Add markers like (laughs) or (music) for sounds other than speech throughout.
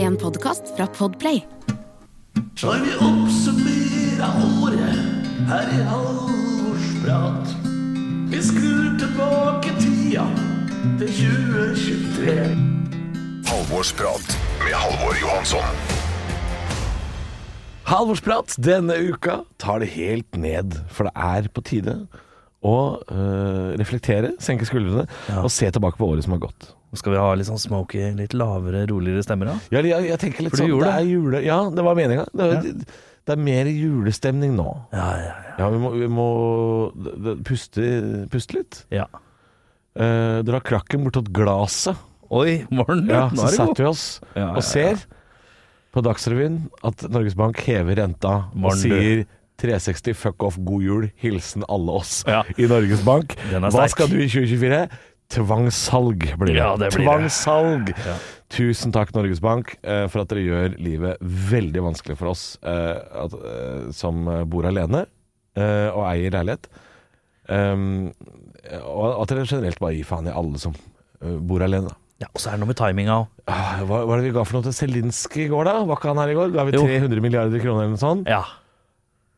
En podkast fra Podplay. Når vi oppsummerer året her i Halvorsprat. Vi skrur tilbake tida til 2023. Halvorsprat med Halvor Johansson. Halvorsprat denne uka tar det helt ned, for det er på tide å øh, reflektere, senke skuldrene og se tilbake på året som har gått. Skal vi ha litt sånn smoky, litt lavere, roligere stemmer da? Ja, jeg, jeg tenker litt For du sånn gjorde det er jule, Ja, det var meninga. Det, er- det er mer julestemning nå. Ja, ja, Ja, vi må, vi må d- d- puste, puste litt. ja. Eh, dra krakken bortåt glaset. Oi, morgen. Ja, Nå så er det setter god. vi oss Ja, ja, og ser på Dagsrevyen at Norges Bank hever renta og Morgen, du. sier 360 fuck off, god jul, hilsen alle oss Ja. i Norges Bank. Den er Hva sterk. skal du i 2024? Tvangssalg blir det. Ja, det blir det. Tvangssalg. Tusen takk, Norges Bank, eh, for at dere gjør livet veldig vanskelig for oss eh, at, eh, som eh, bor alene eh, og eier leilighet. Um, og at dere generelt bare gir faen i alle som eh, bor alene. da. Ja, og så er det noe med timinga òg. Ah, Hva hva er det vi ga for noe til Zelenskyj i går, da? Var ikke han her i går? Da er vi Jo. 300 milliarder kroner eller noe sånt. Ja.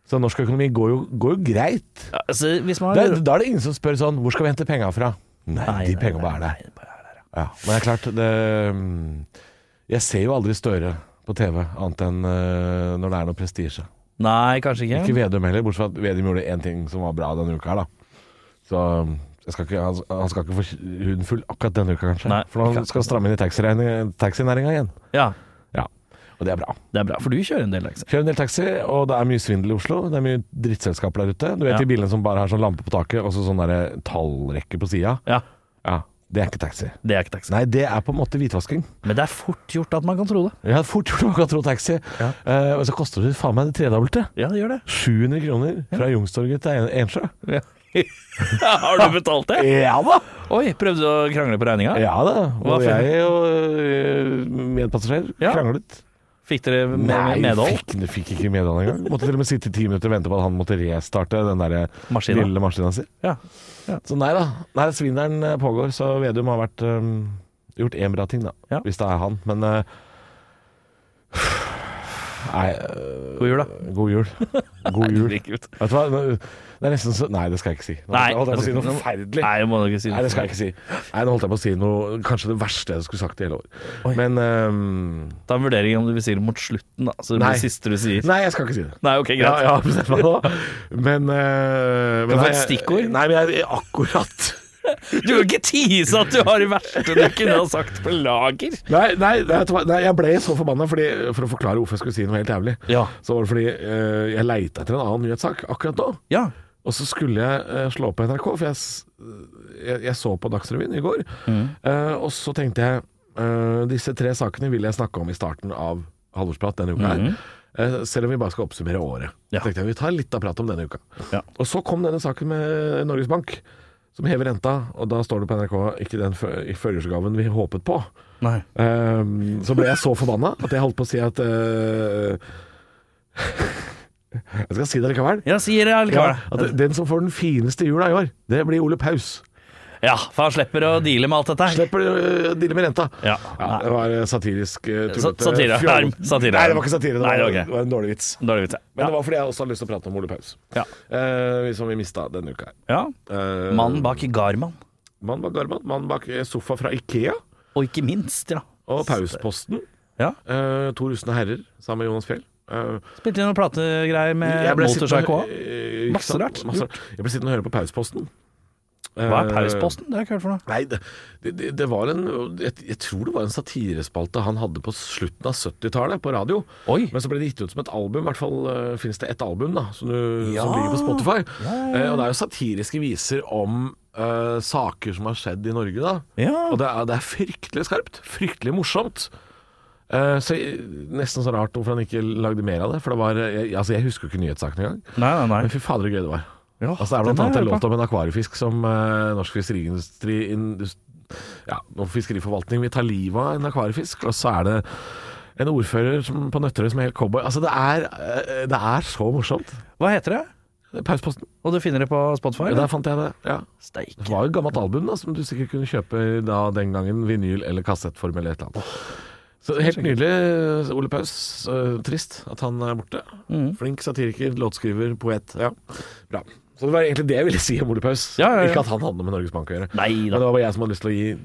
Så norsk økonomi går jo, går jo greit. Altså, hvis man Da, da er det ingen som spør sånn Hvor skal vi hente penga fra? Nei, Nei, de nei, penga nei, bare er der. nei, bare er der, ja. Ja, men det er klart det, mm, Jeg ser jo aldri Støre på TV, annet enn eh, når det er noe prestisje. Nei, kanskje ikke. Ikke Vedum heller, bortsett fra at Vedum gjorde én ting som var bra denne uka her, da. Så mm, jeg skal ikke, han, han skal ikke få huden full akkurat denne uka, kanskje. Nei, For ikke nå skal han stramme inn i taxiregning- taxinæringa igjen. Ja, Ja, og det er bra. det er bra, for du kjører en del, liksom. Kjører en del taxi, og det er mye svindel i Oslo. Det er mye drittselskaper der ute. Du vet Ja. de bilene som bare har sånn lampe på taket og så sånn derre tallrekke på sida? Ja, Ja. Det er ikke taxi. det er ikke taxi. Nei, det er på en måte hvitvasking. Men det er fort gjort at man kan tro det. Jeg hadde fort gjort å tro taxi. Ja. Eh, og så koster det faen meg det tredobbelte. Ja, det gjør det. 700 kroner fra Youngstorget til En- Ensjø. Ja. (laughs) Har du betalt det? Ja da! Oi, prøvde du å krangle på regninga? Ja da. Hva for- Og jeg og øh, medpassasjer Ja. kranglet. Fikk dere med, med, medhold? fikk, fikk ikke medhold engang. Måtte til og med sitte i ti minutter og vente på at han måtte restarte den der eh, Maskina. lille maskina si. Ja. Så nei da. Nei, svindelen eh, pågår, så Vedum har vært ehm, gjort én bra ting, da. Ja. Hvis det er han. Men eh, Nei, eh, God jul, da. god jul. God Nei, jul. det blir ikke ut. Vet du hva, Nå- det er nesten så Nei, det skal jeg ikke si. Nå Nei. holdt jeg på å si noe forferdelig. Nei, jeg må ikke si Nei, det skal jeg ikke si. Nei, Nå holdt jeg på å si noe Kanskje det verste jeg skulle sagt i hele år. Oi. Men ehm, Ta en vurdering om du vil si det mot slutten, da. Så det Nei. blir det siste du sier. Nei, jeg skal ikke si det. Nei, ok, Ja, (laughs) greit. jeg har bestemt meg nå. Men, eh, men Det var et nei, jeg- stikkord. Nei, men jeg akkurat Du kan ikke tease at du har det verste du kunne ha sagt på lager. Nei, nei, nei, vet du hva? nei jeg ble så forbanna fordi- for å forklare hvorfor jeg skulle si noe helt jævlig. Ja. Så var det fordi eh, jeg leita etter en annen nyhetssak akkurat nå. Ja. Og så skulle jeg eh, slå på NRK, for jeg, s- jeg, jeg så på Dagsrevyen i går. Mm. Eh, og så tenkte jeg eh, disse tre sakene vil jeg snakke om i starten av Halvorsprat denne uka her. Eh, selv om vi bare skal oppsummere året. Mm. Ja. Så tenkte jeg vi tar litt av prat om denne uka. Ja. Og så kom denne saken med Norges Bank, som hever renta. Og da står det på NRK ikke den fø- i førjulsgaven vi håpet på. Nei. Ehm, så ble jeg så forbanna at jeg holdt på å si at eh, (laughs) Jeg skal si det likevel. Ja, sier det Ja, allikevel. at den som får den fineste jula i år, det blir Ole Paus. Ja, for han slipper å deale med alt dette her. Slipper øh, å deale med renta. Ja. Ja, det var øh, satirisk øh, Sa- tullete satire. fjoll. Arm. Satire. Nei, det var ikke satire. Det var, Nei, det var ikke. det var en dårlig vits. Dårlig vits. Men Ja. det var fordi jeg også hadde lyst til å prate om Ole Paus, Ja. Eh, som vi mista denne uka. her. ja. Eh, Mannen bak Garman. Mannen bak Garman. Mannen bak eh, sofa fra Ikea. Og ikke minst, ja. Og Pausposten. Ja. Eh, to rusne herrer sammen med Jonas Fjell. Eh, Spilte inn noen plategreier med jeg ble sittende- Motorpsycho òg. eh, ikke Eh, Masse sant? rart. Masse rart. Jeg ble sittende og høre på Pausposten. Hva er Eh, Pausposten? Det har jeg ikke hørt for noe. Nei, det, det, det var en jeg, jeg tror det var en satirespalte han hadde på slutten av 70-tallet på radio. Oi. Men så ble det gitt ut som et album. I hvert fall uh, finnes det ett album da som, du, Ja. som ligger på Spotify. Eh, og det er jo satiriske viser om eh, saker som har skjedd i Norge, da. Ja. Og det er, det er fryktelig skarpt. Fryktelig morsomt. Eh, så jeg- Nesten så rart hvorfor han ikke lagde mer av det. For det var jeg, altså, jeg husker jo ikke nyhetssaken engang. Nei, nei, Men nei. fy fader, så gøy det var. Ja, Altså, det er den blant annet har en jeg hørt låt om en akvariefisk som eh, norsk fiskeriindustri indus- ja, og fiskeriforvaltning vil ta livet av en akvariefisk, og så er det en ordfører som, på Nøtterøy som er helt cowboy. Altså, det er, eh, det er så morsomt. på. Hva heter det? Pausposten. Og du finner det på Spotify? Der eller? fant jeg det. Ja. Det Steike. var jo et gammelt album da, som du sikkert kunne kjøpe da, den gangen. Vinyl eller kassettform eller et eller annet. Så Helt nydelig, Ole Paus. Eh, trist at han er borte. Mm. Flink satiriker, låtskriver, poet. Ja, bra. Så det var egentlig det jeg ville si om Ole Paus. Ja, ja, ja. Ikke at han hadde noe med Norges Bank å gjøre. Nei Men da. det var bare jeg som hadde lyst til å gi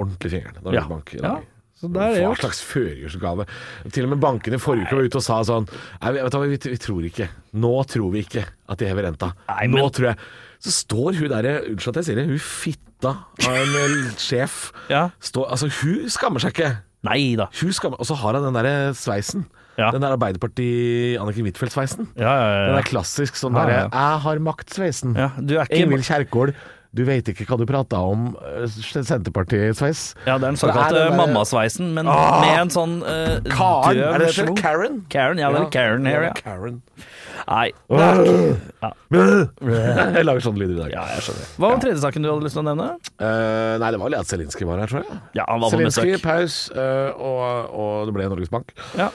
ordentlig fingeren til Norges Ja. Bank i dag. Ja. Så der er Hva jo- slags førjulsgave? Til og med bankene i forrige uke var ute og sa sånn Nei, vet du hva, vi, vi tror ikke. Nå tror vi ikke at de hever renta. Nei, men- Nå tror jeg Så står hun derre Unnskyld at jeg sier det, hun fitta av en eh, sjef. Ja. Står, altså, hun skammer seg ikke. Nei da. Hun skammer Og så har han den derre sveisen. Ja. Den der Arbeiderparti-Anniken Huitfeldt-sveisen. Ja, ja, Den ja. er klassisk sånn Ja, derre ja. 'jeg har makt'-sveisen. Ja, du er ikke- Ingvild Kjerkol, du veit ikke hva du prata om, eh, Senterparti-sveis. Ja, det er den For det er såkalte den der- Ah! mammasveisen, men med en sånn eh, Karen! døv Er det ikke versjon. Karen? Karen, ja, det er Karen her, ja. Karen. (laughs) Nei. det er ikke- Jeg lager sånne lyder i dag. Ja, jeg skjønner. Hva var den tredje saken du hadde lyst til å nevne? Eh, nei, det var vel det at Zelinskyj var her, tror jeg. Ja, han var på Zelinskyj, besøk. Paus, eh, og, og det ble Norges Bank. Ja.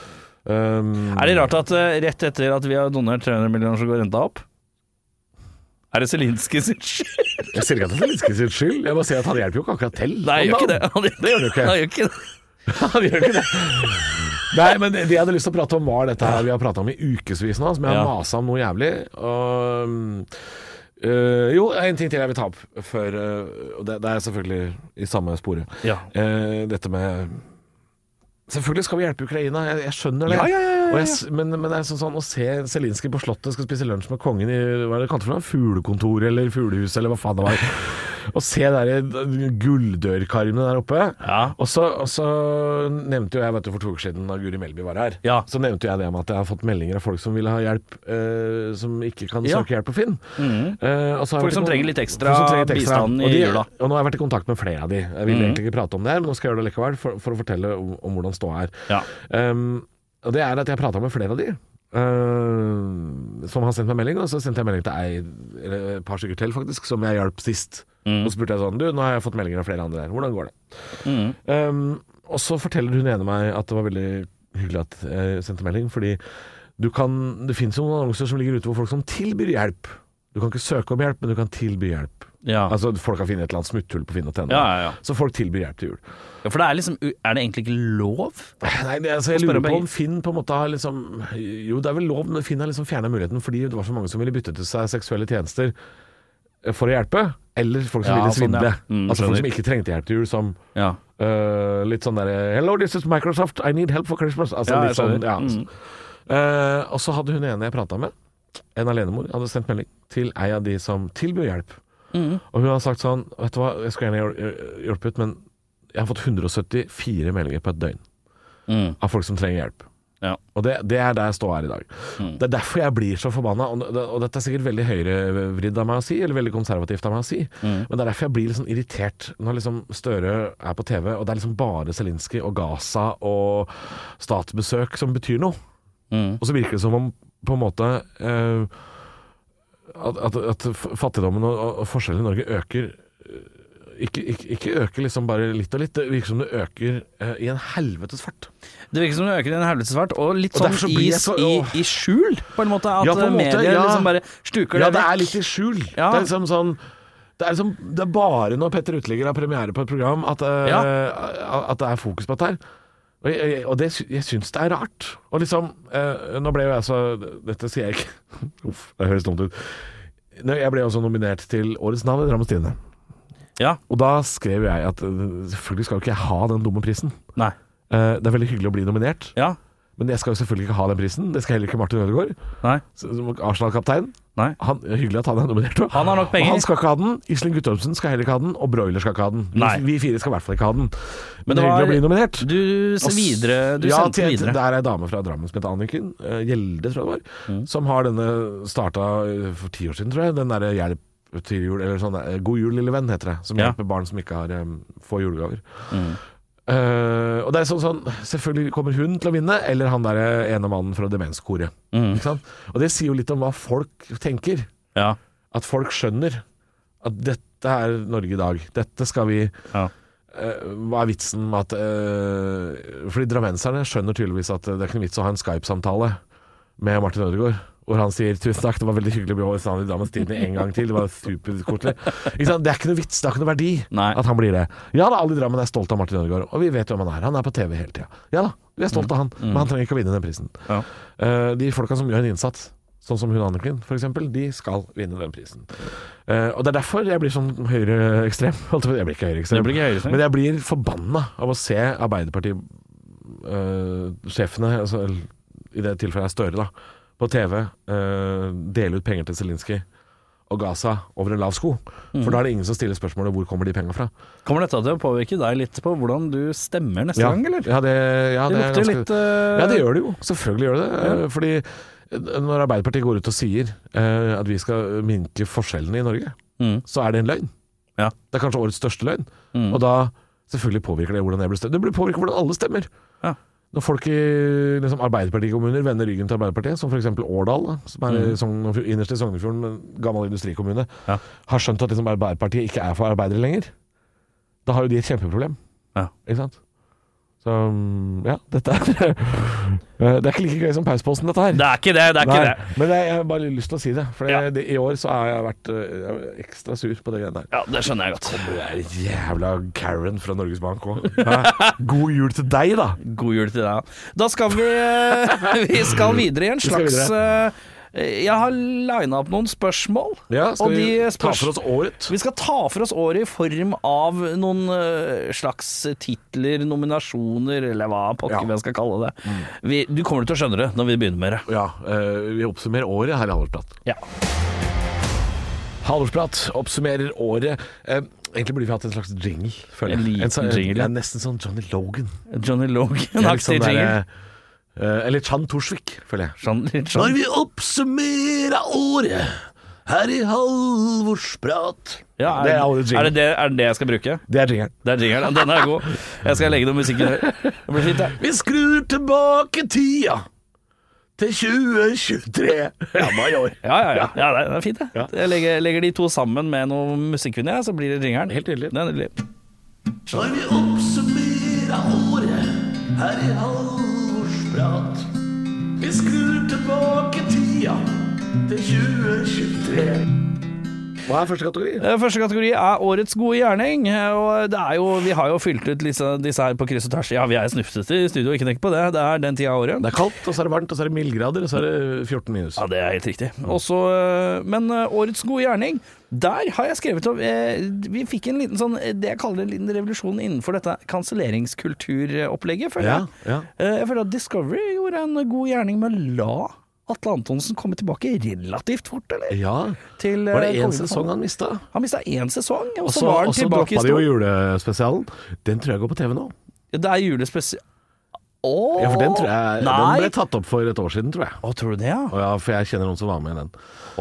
Um, Er det rart at eh, rett etter at vi har donert 300 millioner, så går renta opp? Er det Zelinskyj sin skyld? jeg sier ikke at det er Zelinskyj sin skyld, jeg bare sier at han hjelper jo ikke akkurat (laughs) til. Nei, jeg gjør ikke (laughs) det. Han Det gjør du ikke. Han gjør ikke det. Han gjør ikke det. Nei, men det jeg hadde lyst til å prate om, var dette her vi har prata om i ukevis nå, som jeg Ja. har masa om noe jævlig. Og, mm, øh, jo, en ting til jeg vil ta opp før øh, Og det, det er selvfølgelig i samme sporet. Ja. Eh, dette med Selvfølgelig skal vi hjelpe Ukraina, jeg, jeg skjønner det. Ja, ja, ja, ja, ja. Og jeg, s- men, men det er sånn, sånn å se Zelinskyj på Slottet skal spise lunsj med kongen i hva er det kalt for noe? Fuglekontoret eller fuglehus eller hva faen det (laughs) var. Å se de gulldørkarmene der oppe. Ja. Og så, og så nevnte jo jeg, vet du, for to uker siden da Guri Melby var her, Ja. så nevnte jo jeg det med at jeg har fått meldinger av folk som vil ha hjelp, eh, som ikke kan Ja. søke hjelp på Finn. Eh, og så har Mm. Folk jeg vært i som kon- trenger litt ekstra folk som trenger bistand i Og de- jula. Mhm. Og nå har jeg vært i kontakt med flere av de. Jeg vil egentlig ikke prate om det her, men nå skal jeg gjøre det likevel, for, for å fortelle om, om hvordan ståa er. Ja. Um, og det er at jeg prata med flere av de. uh, som har sendt meg melding, og så sendte jeg melding til ei, eller et par stykker til faktisk, som jeg hjalp sist. Mm. Og så spurte jeg sånn Du, nå har jeg fått meldinger av flere andre der, hvordan går det? Mm. Um, og så forteller hun ene meg at det var veldig hyggelig at jeg sendte melding, fordi du kan Det fins jo noen annonser som ligger ute hvor folk som tilbyr hjelp. Du kan ikke søke om hjelp, men du kan tilby hjelp. Ja. Altså folk har funnet et eller annet smutthull på Finn og Tenne. Ja, ja, ja. Så folk tilbyr hjelp til jul. ja, for det er liksom Er det egentlig ikke lov? (laughs) Nei, det, altså, jeg Spørre lurer om på jeg- om Finn på en måte har liksom Jo, det er vel lov, men Finn har liksom fjerna muligheten fordi det var så mange som ville bytte til seg seksuelle tjenester eh, for å hjelpe. Eller folk som Ja, ville sånn, ja. svindle. Mm, altså folk skjønner. som ikke trengte hjelp til jul, som Ja. øh, litt sånn derre Hello, this is Microsoft, I need help for Christmas. Altså Ja, jeg litt sånn, skjønner. Mm. ja. Eh, og så hadde hun ene jeg prata med, en alenemor, hadde sendt melding til ei av de som tilbød hjelp. Mm. Og hun har sagt sånn Vet du hva, jeg skulle gjerne hjel- hjulpet, men jeg har fått 174 meldinger på et døgn Mm. av folk som trenger hjelp. Ja. Og det, det er der jeg står her i dag. Mm. Det er derfor jeg blir så forbanna. Og, det- og dette er sikkert veldig høyrevridd av meg å si, eller veldig konservativt av meg å si, Mm. men det er derfor jeg blir litt sånn irritert når liksom Støre er på TV, og det er liksom bare Zelinskyj og Gaza og statsbesøk som betyr noe. Mm. Og så virker det som om på en måte eh, at, at, at fattigdommen og, og forskjellen i Norge øker eh, ikke, ikke, ikke øker liksom bare litt og litt, det virker som det øker eh, i en helvetes fart. Det virker som det øker i en helvetes fart, og litt Og sånn derfor så i, blir jeg så- i, åh. i skjul, på en måte. At Ja, på en måte, medier ja. liksom bare stuker Ja, det det vekk. er litt i skjul. Ja. Det er liksom sånn det er, liksom, det er bare når Petter Uteligger har premiere på et program at, eh, at det er fokus på dette her. Og jeg, jeg- og det, sy- jeg syns det er rart. Og liksom eh, Nå ble jo jeg så Dette sier jeg ikke. (laughs) Uff, det høres dumt ut. Nå, Jeg ble også nominert til Årets navn i Drammens Tidende. Ja, Og da skrev jeg at eh, selvfølgelig skal jo ikke jeg ha den dumme prisen. nei. Eh, Det er veldig hyggelig å bli nominert, Ja, men jeg skal jo selvfølgelig ikke ha den prisen. Det skal heller ikke Martin Ødegaard, nei, som Arsenal-kaptein. nei. Han, hyggelig at han er nominert også. Han har nok penger. Og han skal ikke ha den. Iselin Guttormsen skal heller ikke ha den. Og Broiler skal ikke ha den. Vi, Nei. vi fire skal i hvert fall ikke ha den. Men, det det er var- hyggelig å bli nominert. Du Og ser s- videre Du ja, sendte til- videre. Der er ei dame fra Drammen som heter Anniken eh, Gjelde, tror jeg det var. Mm. Som har denne starta eh, for ti år siden, tror jeg. Den derre Hjelp til jul, eller sånn eh, God jul, lille venn, heter det. Som Ja. Mm. hjelper barn som ikke har, eh, får julegaver. Eh, og det er sånn, sånn Selvfølgelig kommer hun til å vinne, eller han der eh, ene mannen fra demenskoret. Ikke sant? Og det sier jo litt om hva folk tenker Mm. Ja. at folk skjønner at dette er Norge i dag. Dette skal vi Ja. eh, Hva er vitsen med at eh, Fordi drammenserne skjønner tydeligvis at det er ikke noe vits å ha en Skype-samtale med Martin Ødegaard Hvor han sier 'tusen takk, det var veldig hyggelig å bli over i Drammens Tidende en gang til'. Det var superkoselig. Ikke sant? Det er ikke noe vits, det har ikke noe verdi Nei. at han blir det. Ja da, alle i Drammen er stolt av Martin Ødegaard, og vi vet hvem han er. Han er på TV hele tida. Ja da, vi er stolt av han, men han trenger ikke å vinne den prisen. Ja. Eh, de folka som gjør en innsats, sånn som hun Anniken f.eks., de skal vinne den prisen. Eh, og det er derfor jeg blir sånn høyreekstrem. (laughs) holdt jeg på å si. Jeg blir Du blir ikke høyreekstrem, ikke høyreekstrem. men jeg blir forbanna av å se Arbeiderparti-sjefene, altså, eller i det tilfellet er Støre, da, på TV eh, dele ut penger til Zelinskyj og Gaza over en lav sko. Mm. For da er det ingen som stiller spørsmålet hvor kommer de penga fra. Kommer dette til å påvirke deg litt på hvordan du stemmer neste gang, eller? Ja, det, ja, det det, er lukter ganske, litt eh, ja, det gjør det jo. Selvfølgelig gjør det det. Eh, Fordi eh, når Arbeiderpartiet går ut og sier eh, at vi skal minke forskjellene i Norge, Mm. så er det en løgn. Ja. Mm. Det er kanskje årets største løgn. Og da selvfølgelig påvirker det hvordan jeg blir stemt. Det blir påvirket hvordan alle stemmer. Ja. Når folk i liksom, Arbeiderpartikommuner vender ryggen til Arbeiderpartiet, som f.eks. Årdal, da, som er i Sogn- innerst i Sognefjorden, en gammel industrikommune, Mm. Ja. har skjønt at liksom, Arbeiderpartiet ikke er for arbeidere lenger, da har jo de et kjempeproblem. Ja. Ikke sant? Så mm, ja, dette er (laughs) Eh, Det er ikke like gøy som pauseposten, dette her. Det er ikke det, det er ikke det. Men jeg, jeg har bare lyst til å si det. For Ja. det, i år så har jeg vært eh, ekstra sur på det greiene der. Ja, det skjønner jeg godt. Du er jævla Karen fra Norges Bank òg. God jul til deg, da! God jul til deg. Da skal vi eh, (laughs) Vi skal videre i en skal slags eh, Jeg har lina opp noen spørsmål. Ja, skal og de vi ta spørs- for oss året? Vi skal ta for oss året i form av noen eh, slags titler, nominasjoner, eller hva pokker Ja. Mm. vi skal kalle det. Vi, du kommer til å skjønne det når vi begynner med det. Ja, eh, vi oppsummerer året her i Halvorsprat. Ja. Halvorsprat oppsummerer året. Eh, egentlig burde vi hatt en slags jingle, føler En jeg. liten sånn- jingle, ja. ja, nesten sånn Johnny Logan. Johnny Det er litt Logan-aktig sånn der, jingle. eh, eller Chan Torsvik, føler jeg. Sånn, litt sånn. vi oppsummerer året her i Halvorsprat Ja, Det er årets Er jingle. det, det, er det det jeg skal bruke? Det er jingeren. Det er jingeren. Den er god. Jeg skal legge noe musikk under. Det blir fint, det. Vi skrur tilbake tida til 2023. Ja, mai år. Ja, ja, ja. ja det er- det er fint, det. Ja. Jeg legger, legger de to sammen med noe musikkvinner, så blir det jingeren. Helt nydelig. Det er nydelig. Når vi oppsummerer året her i Halvorsprat. Vi skrur tilbake tida til 2023. Hva er første kategori? Eh, Første kategori er årets gode gjerning. eh, Og det er jo, vi har jo fylt ut disse, disse her på kryss og tvers. Ja, vi er snufsete i studio, ikke tenk på det. Det er den tida av året. Det er kaldt, og så er det varmt, og så er det mildgrader, og så er det 14 minus. Ja, det er helt riktig. Mm. Også, eh, men eh, årets gode gjerning, der har jeg skrevet om eh, Vi fikk en liten sånn, eh, det jeg kaller en liten revolusjon innenfor dette kanselleringskulturopplegget, føler jeg. ja. Eh, Jeg føler at Discovery gjorde en god gjerning med å la Atle Antonsen komme tilbake relativt fort, eller? ja. Til, Var det eh, én Kongen av sesong Fallen. han mista? Han mista én sesong, og Og så så var han og så tilbake i droppa de jo stå. julespesialen. Den tror jeg går på TV nå. Det er julespesial... Å! Ja, for den tror jeg Den Nei! ble tatt opp for et år siden, tror jeg. Å, tror du det, ja? Å ja, for jeg kjenner noen som var med i den.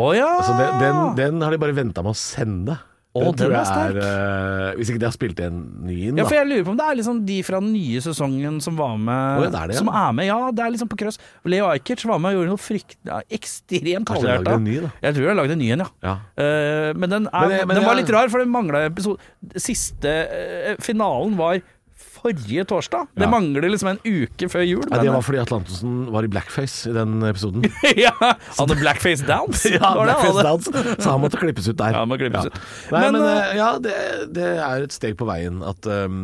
Å ja! Så Altså, den, den, den har de bare venta med å sende. Å, Ah! den er sterk. eh, Hvis ikke de har spilt en ny inn, Ja, da. for jeg lurer på om det er liksom de fra den nye sesongen som var med. Å, ja, det er det, ja. Som er med, ja. Det er liksom på krøss. Leo Ajkic var med og gjorde noe frykt... Ja, ekstremt Kanskje de har halvhjerta. laget en ny, da. Jeg tror jeg har lagd en ny en, ja. Ja. Eh, men den, er, Men jeg- men den var jeg- litt rar, for den mangla episode Siste eh, finalen var forrige torsdag. Det Ja. mangler liksom en uke før jul. Nei, men- eh, det var fordi Atle Antonsen var i blackface i den episoden. (laughs) ja, han hadde (laughs) blackface dance. Det var det han blackface hadde. dance, så han måtte klippes ut der. Ja, han må klippes ut. Nei, Men, men, eh, ja, det, det er et steg på veien at ehm,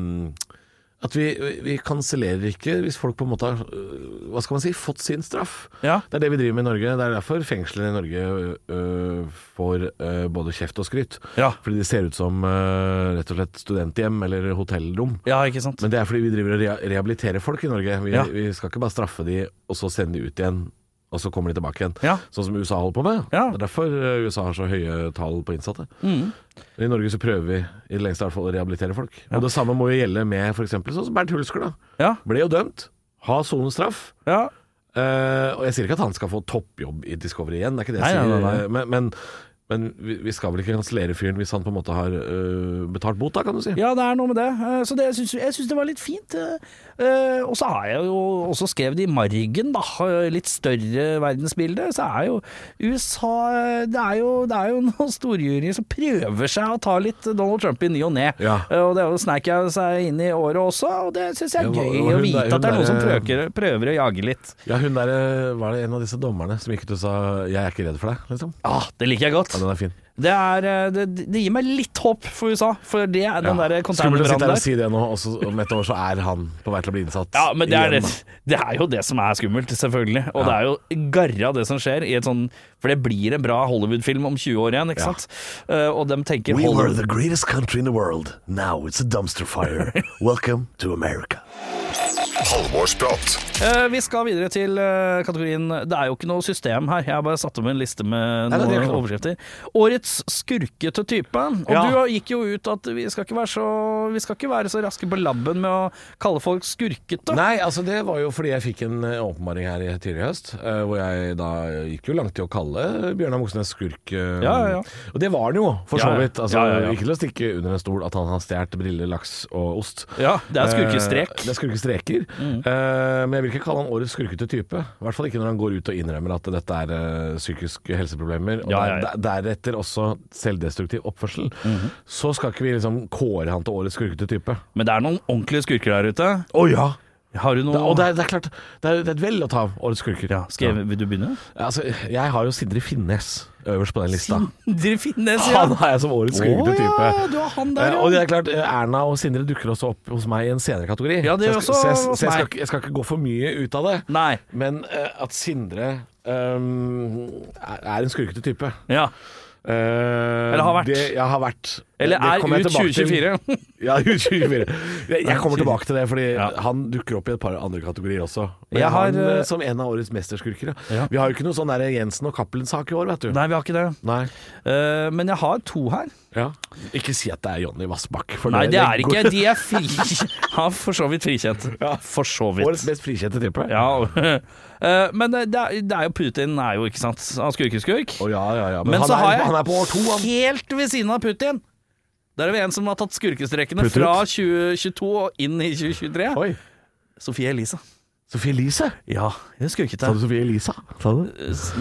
at vi, vi kansellerer ikke hvis folk på en måte har øh, hva skal man si, fått sin straff. Ja. Det er det vi driver med i Norge. Det er derfor fengslene i Norge øh, får øh, både kjeft og skryt. Ja. Fordi de ser ut som øh, rett og slett studenthjem eller hotellrom. Ja, ikke sant. Men det er fordi vi driver og rea- rehabiliterer folk i Norge. Vi, Ja. vi skal ikke bare straffe de, og så sende de ut igjen, og så kommer de tilbake igjen. Ja. Sånn som USA holder på med. Ja. Det er derfor eh, USA har så høye tall på innsatte. Mm. I Norge så prøver vi i det lengste i hvert fall å rehabilitere folk. Og det samme må jo gjelde med f.eks. sånn som Bernt Hulsker, da. Ja, Ble jo dømt. Har sonestraff. ja. Eh, og jeg sier ikke at han skal få toppjobb i Discovery igjen, det er ikke det jeg Nei, nei, sier. nei, nei. eh, Men, men Men vi, vi skal vel ikke kansellere fyren hvis han på en måte har øh, betalt bot, da, kan du si. Ja, det er noe med det. Eh, Så det, jeg syns- jeg syns det var litt fint. eh. Eh, Og så har jeg jo også skrevet i margen, da, eh, litt større verdensbilde, så er jo USA eh, Det er jo, det er jo (laughs) noen storjuryer som prøver seg å ta litt Donald Trump i ny og ne. Ja. Eh, Og det er jo sneik jeg seg inn i året også, og det syns jeg er Ja, hva- gøy hva å hun vite der- at det er hun noen som der- prøver, prøver å jage litt. Ja, hun der øh, var det en av disse dommerne som gikk ut og sa 'jeg er ikke redd for deg', liksom. Ja, det liker jeg godt. Ja, den er fin. Det, er, eh, det, det gir meg litt håp for USA, for det er den Ja. der eh, Skummelt å containerbrannen sitte her og der. si det nå, og så om et år så er han på vei til å bli innsatt. Ja, men det er, igjen, det, (laughs) det er jo det som er skummelt, selvfølgelig. Og det er jo garra det som skjer i et sånn For det blir en bra Hollywood-film om 20 år igjen, ikke Ja. sant? Eh, og de tenker We were Hollywood- the greatest country in the world. Now it's a dumpster fire. Welcome to America. Halvorsprat. Eh, Vi skal videre til eh, kategorien Det er jo ikke noe system her. Jeg har bare satt om en liste med Nei, nei, noen det er ikke noe. overskrifter. Årets skurkete type. Og Ja. du gikk jo ut at vi skal, ikke være så, vi skal ikke være så raske på labben med å kalle folk skurkete. Nei, altså det var jo fordi jeg fikk en eh, åpenbaring her i tidligere i høst, eh, hvor jeg da gikk jo langt i å kalle Bjørnar Moxnes skurk. eh, Ja, ja, ja. Og det var han jo, for så Ja, ja. vidt. Altså, Ja, ja, ja. Ikke til å stikke under en stol at han har stjålet briller, laks og ost. Ja, det er skurkestrek. Eh, Det er skurkestreker. Mm. Eh, men jeg vil ikke kalle han årets skurkete type. I hvert fall ikke når han går ut og innrømmer at dette er eh, psykiske helseproblemer. Og Ja, der- ja, ja. Mhm. der- deretter også selvdestruktiv oppførsel. Så skal ikke vi liksom kåre han til årets skurkete type. Men det er noen ordentlige skurker der ute. Å ja! Har du noe Det, og det er, det er klart, det er, det er et vel å ta av årets skurker. ja, skal jeg, Vil du begynne? Ja, Altså, jeg har jo Sindre Finnes øverst på den lista. Dere finnes, (laughs) Han har jeg som årets skurkete type. ja, du har han der, Eh, ja. og det er klart, eh, Erna og Sindre dukker også opp hos meg i en senere kategori. Ja, det gjør så også jeg, skal- så jeg, hos så jeg, skal, meg. ikke- jeg skal ikke gå for mye ut av det. Nei. Men eh, at Sindre ehm, er er en skurkete type. Ja. Eller har vært. Det, ja, har vært. Eller Det- det er kommer jeg ut tilbake til. 2024. Ja, (laughs) ut 24. Jeg, jeg kommer tilbake til det, fordi Ja. han dukker opp i et par andre kategorier også. Men Jeg har, han, eh, eh, som en av årets mesterskurkere. Ja. Vi har jo ikke noe sånn der Jensen og Cappelen-sak i år, vet (laughs) du. Nei, vi har ikke det. Nei. Eh, men jeg har to her. Ja. Ikke si at det er Jonny Vassbakk. for Nei, det er går- ikke. De er fri... (laughs) Ja, for så vidt frikjent. For så vidt. (laughs) Årets mest frikjente type. Ja. (laughs) Eh, Men det er, det er jo Putin, er jo, ikke sant? Han skurkeskurk. Å, ja, ja, ja. Men, Men han, så er, har jeg han er på år to, han. helt ved siden av Putin. Der er vi en som har tatt skurkestrekene Putt ut. fra 2022 og inn i 2023. Oi. Sofie Elise. Sophie Elise. Ja, hun skurkete. Sa du Sophie Elisa? Sa du?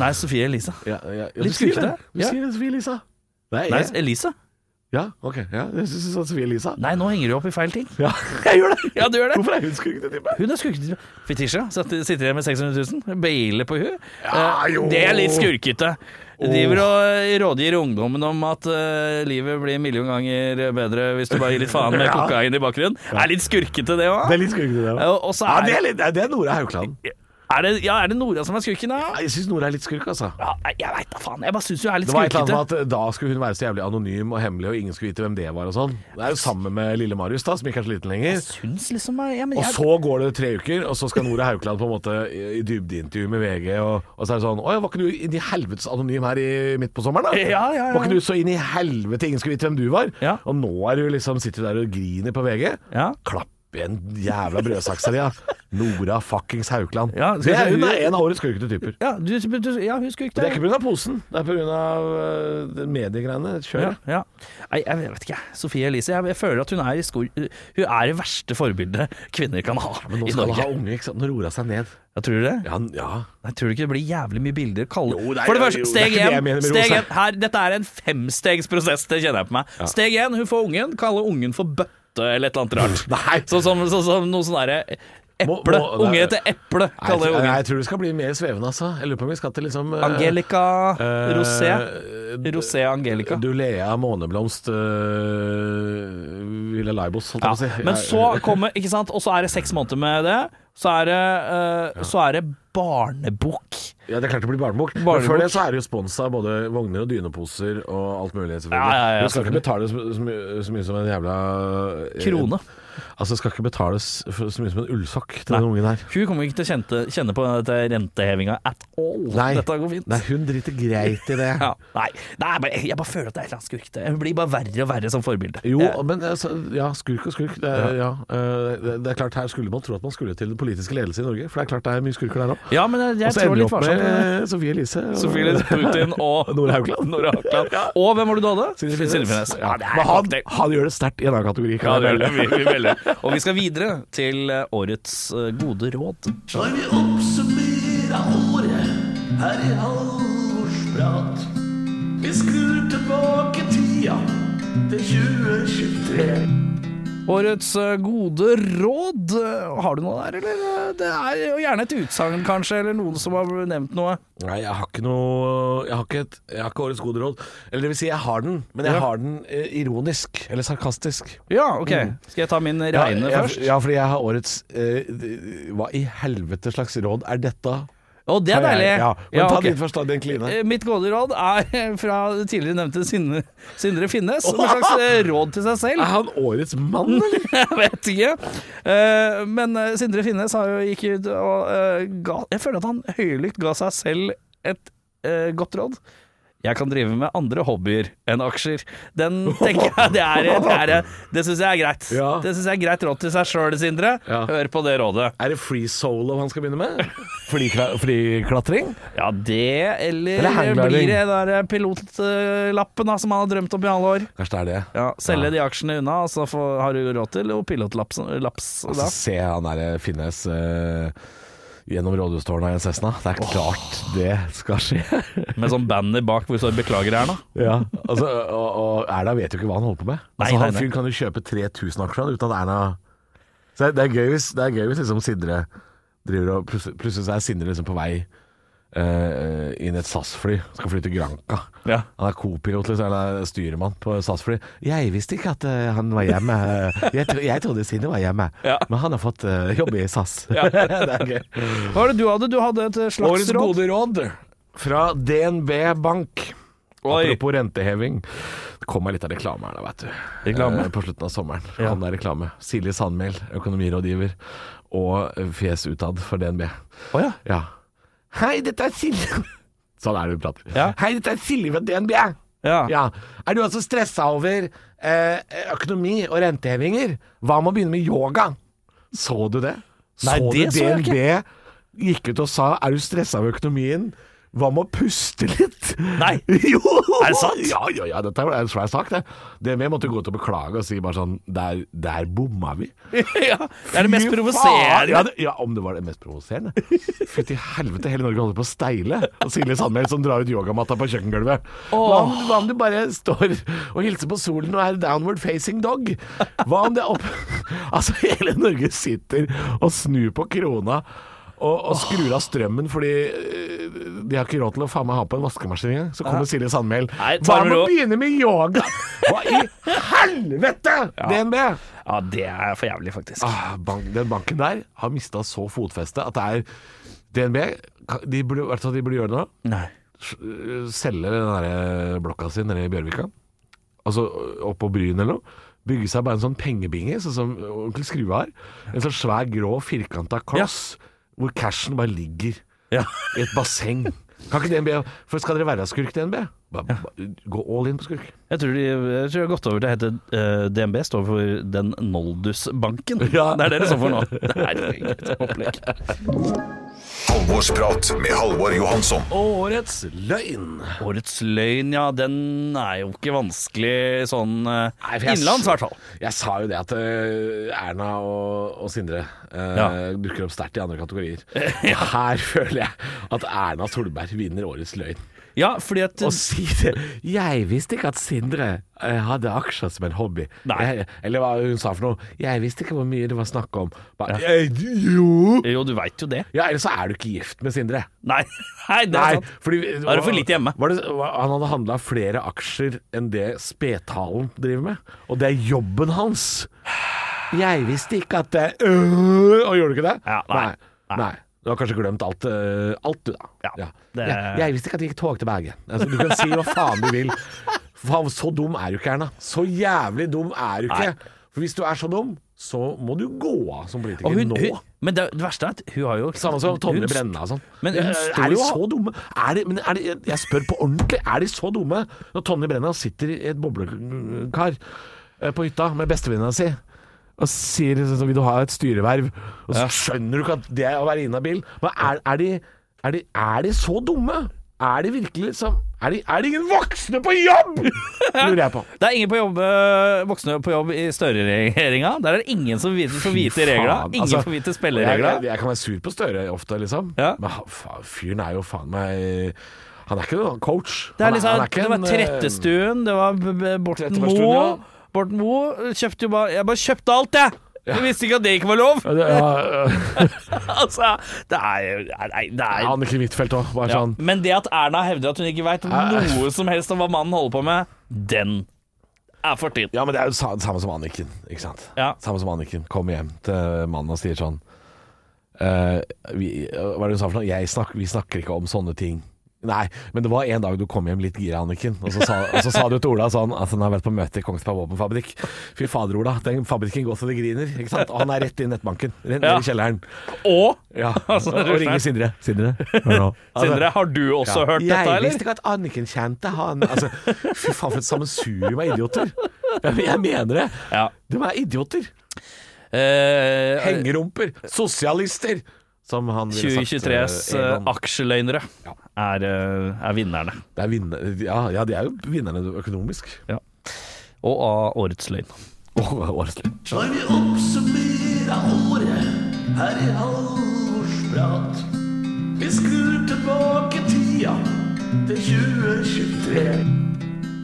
Nei, Sofie Elise. Ja, ja, ja, du Litt sier skurkete. det. Du Ja. sier det, Sophie Elisa. Nei, Nei, jeg, Elise? ja, ok. Ja, jeg syns du sa Sophie Elisa. Nei, nå henger du opp i feil ting. Ja, (laughs) jeg gjør det. Ja, du gjør det. Hvorfor er hun skurkete type? Hun er skurkete. Fetisha sitter sitter igjen med 600 000. Bailer på hun. Ja, Eh, jo. det er litt skurkete. Åh. Driver og rådgir ungdommen om at eh, livet blir en million ganger bedre hvis du bare gir litt faen med (laughs) Ja. kokain i bakgrunnen. Er litt skurkete, det Det er òg. litt skurkete, det Ja, òg. og så Ja, er- det er, litt- det er Nora Haukeland. Er, det- ja, er det Nora som er skurken, da? Nei, Jeg syns Nora er litt skurk, altså. Ja, nei, jeg veit da faen. Jeg bare syns hun er litt Det var et eller skurkete. annet med at Da skulle hun være så jævlig anonym og hemmelig, og ingen skulle vite hvem det var. og sånn Det er jo sammen med lille Marius, da som ikke er så liten lenger. Syns liksom jeg, ja, men Og jeg, så går det tre uker, og så skal Nora Haukeland på en måte i i dybdeintervju med VG. Og, og så er det sånn Å ja, var ikke du inn i helvetes anonym her i, midt på sommeren, da? Ja, ja, ja. Var ikke du så inn i helvete ingen skulle vite hvem du var? Ja. Og nå er du liksom, sitter du der og griner på VG. Ja. Klapp i en jævla brødsakser, ja. Nora fuckings Haukeland. Ja, skal det er, jeg si- hun er en av årets skurkete typer. ja, du, du, ja, hun er skurkete. Det er ikke pga. posen, det er pga. Uh, mediegreiene. Ja, Kjør. ja. Nei, jeg vet ikke. jeg. Sofie Elise, jeg, jeg føler at hun er, i skor, hun er det verste forbildet kvinner kan ha Men nå i skal han Norge. ha unge, ikke sant. Nå roer hun seg ned. Ja, tror du det? Ja, han- ja. Nei, tror du ikke det blir jævlig mye bilder? Kalle. Jo, det er- For det jo, første, det er steg ikke det jeg én. mener med Steg rosa. én. Her, dette er en femstegsprosess, det kjenner jeg på meg. Steg én, hun får ungen. Kalle ungen for bøtte eller et eller annet rart. (laughs) Nei. Sånn som sånn som noe sånn derre Må- eple. må- Unge nei. heter eple, Nei, jeg, kaller jeg tror- nei, ungen. jeg tror det skal bli mer svevende, altså. Jeg lurer på om vi skal til liksom eh, Angelica eh, Rosé. d- Rosé Angelica. Dulea Måneblomst uh, Villa Laibos, holdt Ja, jeg på å si. men Jeg- så kommer Ikke sant? Og så er det seks måneder med det. Så er det, eh, så er det barnebukk. Ja, det er klart det blir barnebok. Men Barnebok. før det så er det jo sponsa av både vogner og dyneposer og alt mulig, selvfølgelig. Ja, ja, ja, du skal ikke betale så, så, mye, så mye som en jævla Krone. eh, Altså, det skal ikke betales for så mye som en ullsokk til den ungen her. Hun kommer ikke til å kjente, kjenne på dette rentehevinga at all. Nei. Dette går fint. Nei, hun driter greit i det. (laughs) Ja, nei, nei jeg, bare, jeg bare føler at det er et eller annet skurkete. Hun blir bare verre og verre som forbilde. Jo, Jeg- men altså, ja, skurk og skurk. Det er, ja. eh, det- det er klart Her skulle man tro at man skulle til den politiske ledelse i Norge, for det er klart det er mye skurker der òg. ja, men jeg, Og jeg så ender tror vi litt opp med varsomt. eh, Sofie Elise. og- (laughs) Sofie (laughs) Elise, Putin og Nora Haugland. Nora (laughs) Haugland. Og hvem var det du hadde? Sindre Finnes. Ja, det er Men han, cocktail. han gjør det sterkt i en annen kategori. Ja, Kan det gjør jeg det. melde. Vi, vi melder. Og vi skal videre til eh, årets eh, gode råd. Når vi oppsummerer året her i Halvorsprat Vi skrur tilbake tida til 2023 Årets eh, gode råd. Eh, Har du noe der, eller? Det er jo gjerne et utsagn, kanskje, eller noen som har nevnt noe. (laughs) Nei, jeg har ikke noe Jeg har ikke, et, jeg har ikke årets gode råd. Eller det vil si, jeg har den, men jeg Ja. har den eh, ironisk. Eller sarkastisk. Mm. Ja, ok. Skal jeg ta min reine ja, først? Ja, fordi jeg har årets eh, d- Hva i helvete slags råd er dette? Å, det er Har jeg- deilig. Ja, men ta ok. din først, da. Din kline. Eh, Mitt gode råd er eh, fra tidligere nevnte Sindre, Sindre Finnes, som en slags eh, råd til seg selv. Er han årets mann, eller? (laughs) Jeg vet ikke. Eh, Men eh, Sindre Finnes har jo gikk ut og eh, ga Jeg føler at han høylytt ga seg selv et eh, godt råd. Jeg kan drive med andre hobbyer enn aksjer. Den tenker jeg Det, er- det, er- det syns jeg er greit. Ja. Det synes jeg er greit råd til seg sjøl, Sindre. Ja. Hør på det rådet. Er det free solo han skal begynne med? Flikla- Fliklatring? Ja, det, eller, Eller hanggliding. blir det der pilotlappen da, som han har drømt om i alle år. Kanskje det er det. Ja, selge de aksjene unna, og så får, har du råd til og pilotlaps. Laps, Og da. så se han der Finnes eh, gjennom rådhustårnet i en Cessna. Det er klart det skal skje. Med sånn banner bak hvor det står 'beklager' her, da. Ja, altså, og, og Erna vet jo ikke hva han holder på med. Nei, altså, nei, han nei. fyren kan jo kjøpe 3000 aksjer han, uten at Erna Så det, det er gøy hvis, det er gøy hvis liksom Sindre driver og plutselig, plutselig så er Sindre liksom på vei eh, inn i et SAS-fly, skal fly til Granca. Ja. Han er co-pilot, liksom, eller styremann på SAS-fly. Jeg visste ikke at eh, han var (laughs) hjemme. Jeg, tro, jeg trodde Sindre var hjemme, Ja. men han har fått eh, jobb i SAS. (laughs) det er gøy. Hva var det du hadde? Du hadde et eh, slags Årets råd? gode råd fra DNB Bank. Oi. Apropos renteheving. Det kom meg litt av reklame her, da, vet du. Reklame? Eh, På slutten av sommeren Ja. kom det reklame. Silje Sandmæl, økonomirådgiver, og fjes utad for DNB. Å ja. Ja. Hei, dette er Silje (laughs) Sånn er det hun prater. Ja. Hei, dette er Silje fra DNB. (laughs) Ja. Ja. Er du altså stressa over eh, økonomi og rentehevinger? Hva med å begynne med yoga? Så du det? Nei, så det du så jeg DNB gikk ut og sa er du stressa av økonomien? Hva med å puste litt? Nei. (laughs) jo! Er det sant? Ja, ja, ja. Dette er en svær sak, det. DNB måtte gå ut og beklage og si bare sånn Der, der bomma vi. ja. Det er det mest Fy faen! Ja, provoserende. det, ja, om det var det mest provoserende. Fy til helvete, hele Norge holder på å steile. Og Silje Sandmæl som drar ut yogamatta på kjøkkengulvet. Hva om, hva om du bare står og hilser på solen og er downward facing dog? Hva om det er opp... (laughs) Altså, hele Norge sitter og snur på krona. Og, og skrur av strømmen fordi øh, de har ikke råd til å faen meg ha på en vaskemaskin engang. Så kommer Silje Sandmæl. Nei, Hva tar med med å ro. begynne med yoga? Hva i (laughs) helvete, DNB? Ja, det er for jævlig, faktisk. Ah, bank, den banken der har mista så fotfeste at det er DNB kan- de burde, Vet du hva de burde gjøre nå? Nei. S- øh, Selge den der eh, blokka si nede i Bjørvika. Altså øh, opp på Bryn eller noe. Bygge seg bare en sånn pengebinge, sånn som onkel Skrue har. En sånn svær, grå, firkanta kloss hvor cashen bare ligger Ja. i et basseng. Kan ikke DNB For skal dere være skurk, DNB? Bare, bare, gå all in på skurk. Jeg tror de jeg tror de har gått over til å hete eh, DNB, står for Den Noldus-banken. Ja. Det er det det står for nå. (laughs) Det er et opplegg. Halvorsprat med Halvor Johansson. Årets løgn. Årets løgn, ja, den er jo ikke vanskelig sånn eh, Nei, for jeg- innenlands, i hvert fall. Jeg sa jo det at eh, Erna og, og Sindre eh, Ja. dukker opp sterkt i andre (laughs) kategorier. Her (laughs) føler jeg at Erna Solberg vinner årets løgn. Ja, fordi at Å si det Jeg visste ikke at Sindre eh, hadde aksjer som en hobby. Nei. Jeg, eller hva hun sa for noe. Jeg visste ikke hvor mye det var snakk om. Bare, «Eh, jo Jo, du veit jo det. Ja, Eller så er du ikke gift med Sindre. Nei, nei det er (laughs) Nei, sant. fordi, Da er det for lite hjemme. Var det, var, han hadde handla flere aksjer enn det spedtalen driver med, og det er jobben hans. Jeg visste ikke at det øh, Og gjorde du ikke det? Ja, nei. nei. Nei. Du har kanskje glemt alt, øh, alt du, da. Ja, det- Jeg, jeg visste ikke at det gikk tog til Bergen. Altså, du kan si hva faen du vil. Faen, så dum er du ikke, Erna. Så jævlig dum er du ikke. For hvis du er så dum, så må du gå av som politiker Og hun, nå. hun, men det, det verste er at hun har jo Samme som Tonje hun- Brenna og sånn. Men hun Eh, står er de jo- så dumme? Er de, men er de, jeg- jeg spør på ordentlig, er de så dumme når Tonje Brenna sitter i et boblekar eh, på hytta med bestevenninna si? Og sier sånn Vil du ha et styreverv? Og så skjønner du ikke at det er å være inhabil. Men er, er, de, er, de, er de så dumme? Er de virkelig som Er de, er de ingen voksne på jobb?! (laughs) Lurer jeg på. Det er ingen på jobb, øh, voksne på jobb i Støre-regjeringa. Der er det ingen som vite- får vite reglene. Faen, Ingen altså, får vite Jeg, spillereglene. jeg, jeg kan være sur på Støre ofte, liksom. Ja. Men han- faen, fyren er jo faen meg Han er ikke noen coach. Det, er Han liksom, han er ikke det var en, eh, Trettestuen, det var B- B- Borten Trettebergstuen, Moe. ja. Borten Moe kjøpte jo bare Jeg bare kjøpte alt, jeg! Jeg visste ikke at det ikke var lov! Ja, eh, det- ja, ja. (laughs) Altså, det er jo Nei, det er Annike Huitfeldt òg, bare ja. sånn. Men det at Erna hevder at hun ikke veit noe som helst om hva mannen holder på med, den er fortid. Ja, men det er jo sa, samme som Anniken, ikke sant. Ja. Samme som Anniken kommer hjem til mannen og sier sånn eh, vi, Hva er det hun sa for noe? Jeg snak, vi snakker ikke om sånne ting. Nei, men det var en dag du kom hjem litt gira, Anniken. Og så sa, og så sa du til Ola sånn at han har vært på møte i Kongsberg våpenfabrikk. Fy fader, Ola. Den fabrikken går så det griner. Ikke sant? Og han er rett i nettbanken. Rett ned Ja. i kjelleren. Og Ja. (laughs) Altså, og ringer Sindre. Sindre, hør nå. (laughs) Sindre, har du også hørt jeg dette, eller? visste ikke at Anniken kjente han. Altså, fy faen, for et sammensurium av idioter. Ja, men Jeg mener det. Ja. De er idioter. Eh, Hengerumper. Sosialister. Som han ville sagt. 2023s eh, eh, Egon. aksjeløynere er, eh, er vinnerne. Det er vinner, ja, ja, de er jo vinnerne økonomisk. (laughs) Og av årets løgn. Åh, årets lønn. Når vi oppsummerer året her i Halvorsprat. Vi skrur tilbake tida til 2023.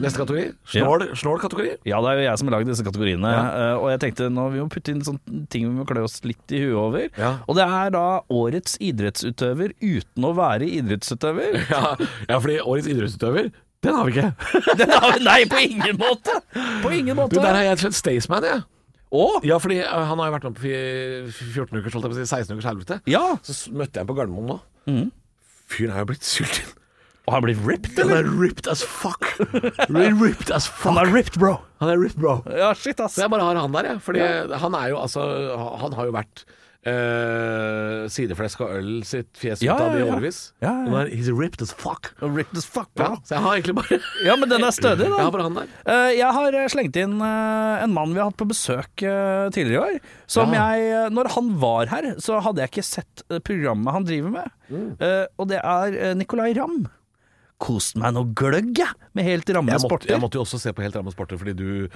Neste kategori. Snål, snål kategori. (laughs) Ja, det er jo jeg som har lagd disse kategoriene. eh, og jeg tenkte nå vi må putte inn sånne ting vi må klø oss litt i huet over. Ja. Og det er da årets idrettsutøver uten å være idrettsutøver. (laughs) Ja, ja, fordi årets idrettsutøver, den har vi ikke. Den har vi- nei, på ingen måte! På ingen Du, der måte. har jeg skjønt Staysman, jeg. Og Ja, fordi eh, han har jo vært med på fi- 14 ukers, holdt jeg på å si, 16 ukers helvete. ja, Så s- møtte jeg ham på Gardermoen nå. Fyren er jo blitt sulten. og han blir ripped. Den er ripped as fuck. Ripped as fuck. er ripped, bro. Han er ripped, bro. Ja, shit, ass. Så jeg bare har han der, jeg. Fordi han er jo altså Han har jo vært eh, sideflesk og øl sitt fjes ut Ja, av det ja, i ja. årevis. Ja, ja, ja. Han er- He's ripped as fuck. Ripped as fuck, Ja, bro. så jeg har egentlig bare Ja, men den er stødig, Jeg da. har bare han der. Eh, Jeg har eh, slengt inn eh, en mann vi har hatt på besøk eh, tidligere i år. Som Ja. jeg, eh, når han var her, så hadde jeg ikke sett eh, programmet han driver med. Mm. Eh, Og det er eh, Nicolay Ramm. Kost meg noe gløgg, jeg, med helt ramme Jeg måtte, sporter. jeg måtte jo også se på Helt ramme sporter, fordi du,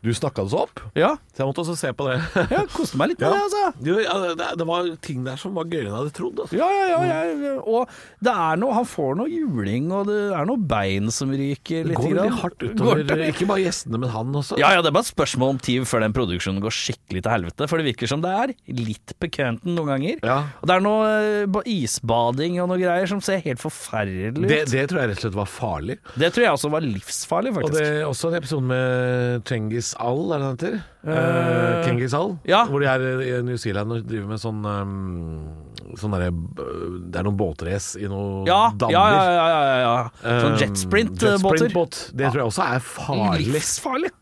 du snakka det så opp. Ja, Så jeg måtte også se på det. (laughs) ja koste meg litt med Ja. det, altså. Jo, ja, det, det var ting der som var gøyere enn jeg hadde trodd. Altså. Ja, ja, ja, ja. Og det er noe Han får noe juling, og det er noe bein som ryker Det litt. går grann. veldig hardt utover Går det? ikke bare gjestene, men han også. Ja, ja, det er bare et spørsmål om tid før den produksjonen går skikkelig til helvete. For det virker som det er litt pekanten noen ganger. Ja. Og det er noe eh, ba- isbading og noe greier som ser helt forferdelig ut. Det, Det, det tror jeg rett og slett var farlig. tror jeg også var livsfarlig, Og faktisk. det er også en episode med Cengiz Al, er det han heter? Eh, Cengiz Al. ja. Hvor de er i New Zealand og driver med sånn ehm, Sånn derre b- Det er noen båtrace i noen ja, ja, dammer. ja, ja, ja, ja. Sånn Ehm, jetsprint-båter. jetsprintbåt. Det tror jeg også er farlig. livsfarlig.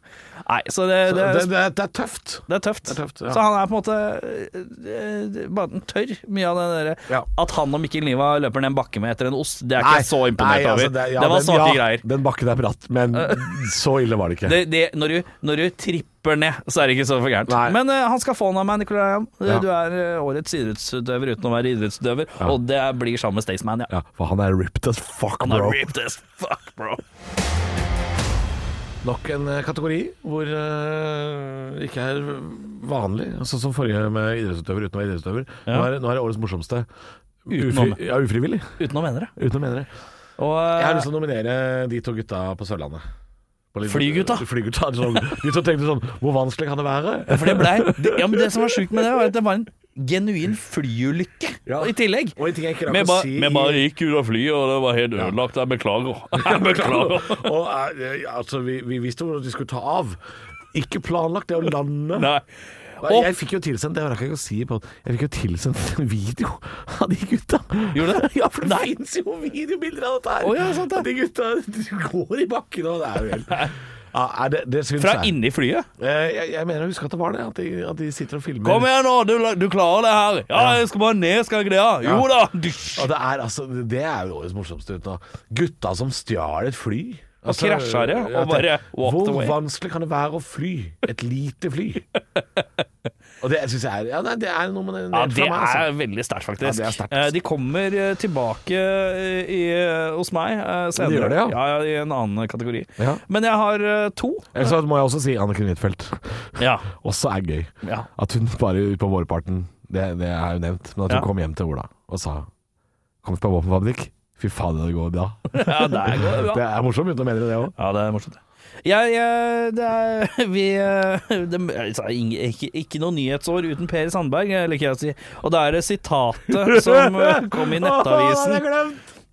Nei, så det, det, Så Det, det, det, det er tøft. er tøft. det er tøft, ja. Så han er på en måte eh, eh, bare den tørr, mye av den derre Ja. At han og Mikkel Niva løper ned en bakke med etter en ost, det er jeg Nei, ikke så imponert nei, altså, over. det- ja, det var den- svake ja, greier. Den bakken er (laughs) bratt, men så ille var det ikke. det, det, når, du, når du tripper ned, så er det ikke så for gærent. Nei. Men eh, han skal få han av meg, Nicolai. Ramm. Eh, Ja. Du er eh, årets idrettsutøver uten å være idrettsutøver, og det blir sammen med Staysman, ja. Ja, for han er ripped as fuck, Han er bro. ripped as fuck, bro. Nok en eh, kategori hvor eh, det ikke er vanlig, sånn som forrige med idrettsutøver uten å være idrettsutøver. Nå, er, nå er det årets morsomste. Utenom. Ufri, ja, ufrivillig. Uten å mene det. Uten å mene det. Og, eh, Jeg har lyst til å nominere de to gutta på Sørlandet. På litt- Flygutta? Flygutta, sånn, de som tenkte sånn Hvor vanskelig kan det være? for det blei det, ja, men det som var sjukt med det, var at det var en genuin flyulykke Ja. i tillegg. Og en ting jeg Vi ikke rakk å bare si vi i- bare gikk ut av flyet, og det var helt ødelagt. Jeg (laughs) beklager. Jeg beklager. og, eh, altså, vi, vi visste hvor de skulle ta av. Ikke planlagt det å lande. Nei. Og jeg fikk jo tilsendt det rakk jeg ikke å si på Jeg fikk jo tilsendt en video av de gutta. Gjorde du det? (laughs) Ja, for det fins jo videobilder av dette her. Å ja, sant det. At De gutta går i bakken, og det er jo helt Ja, er det, det syns Fra jeg. inni flyet? Eh, jeg, jeg mener å huske at det var det, at de, at de sitter og filmer. Kom igjen nå, du, du klarer det her. Ja, jeg skal bare ned, skal jeg greie. Jo da. Dysj. Ja, det, er, altså, det er jo årets morsomste uten å Gutta som stjal et fly. Altså, krasja det, og ja, tenk, bare walked Hvor away. vanskelig kan det være å fly? Et lite fly. (laughs) og det syns jeg er ja, nei, Det er noe med det, Ja, det fra meg. Altså. er veldig sterkt, faktisk. Ja, det er sterkt. Eh, De kommer eh, tilbake eh, i, eh, hos meg eh, senere. gjør det, ja. Ja, I en annen eh, kategori. Ja. Men jeg har eh, to. Ellers så må jeg også si Anniken Huitfeldt. Ja. Også er gøy. Ja. At hun bare ut på vårparten, det, det er jo nevnt, men at hun Ja. kom hjem til Ola og sa Kom på våpenfabrikk. Fy fader, det går bra. (laughs) ja, der går det bra. Det er morsomt uten å mene det òg. Ja, det er morsomt. Jeg, jeg, det er, vi, det, altså, ing- ikke, ikke noe nyhetsår uten Per Sandberg, eh, liker jeg å si. Og da er det sitatet som eh, kom i (laughs) Nettavisen.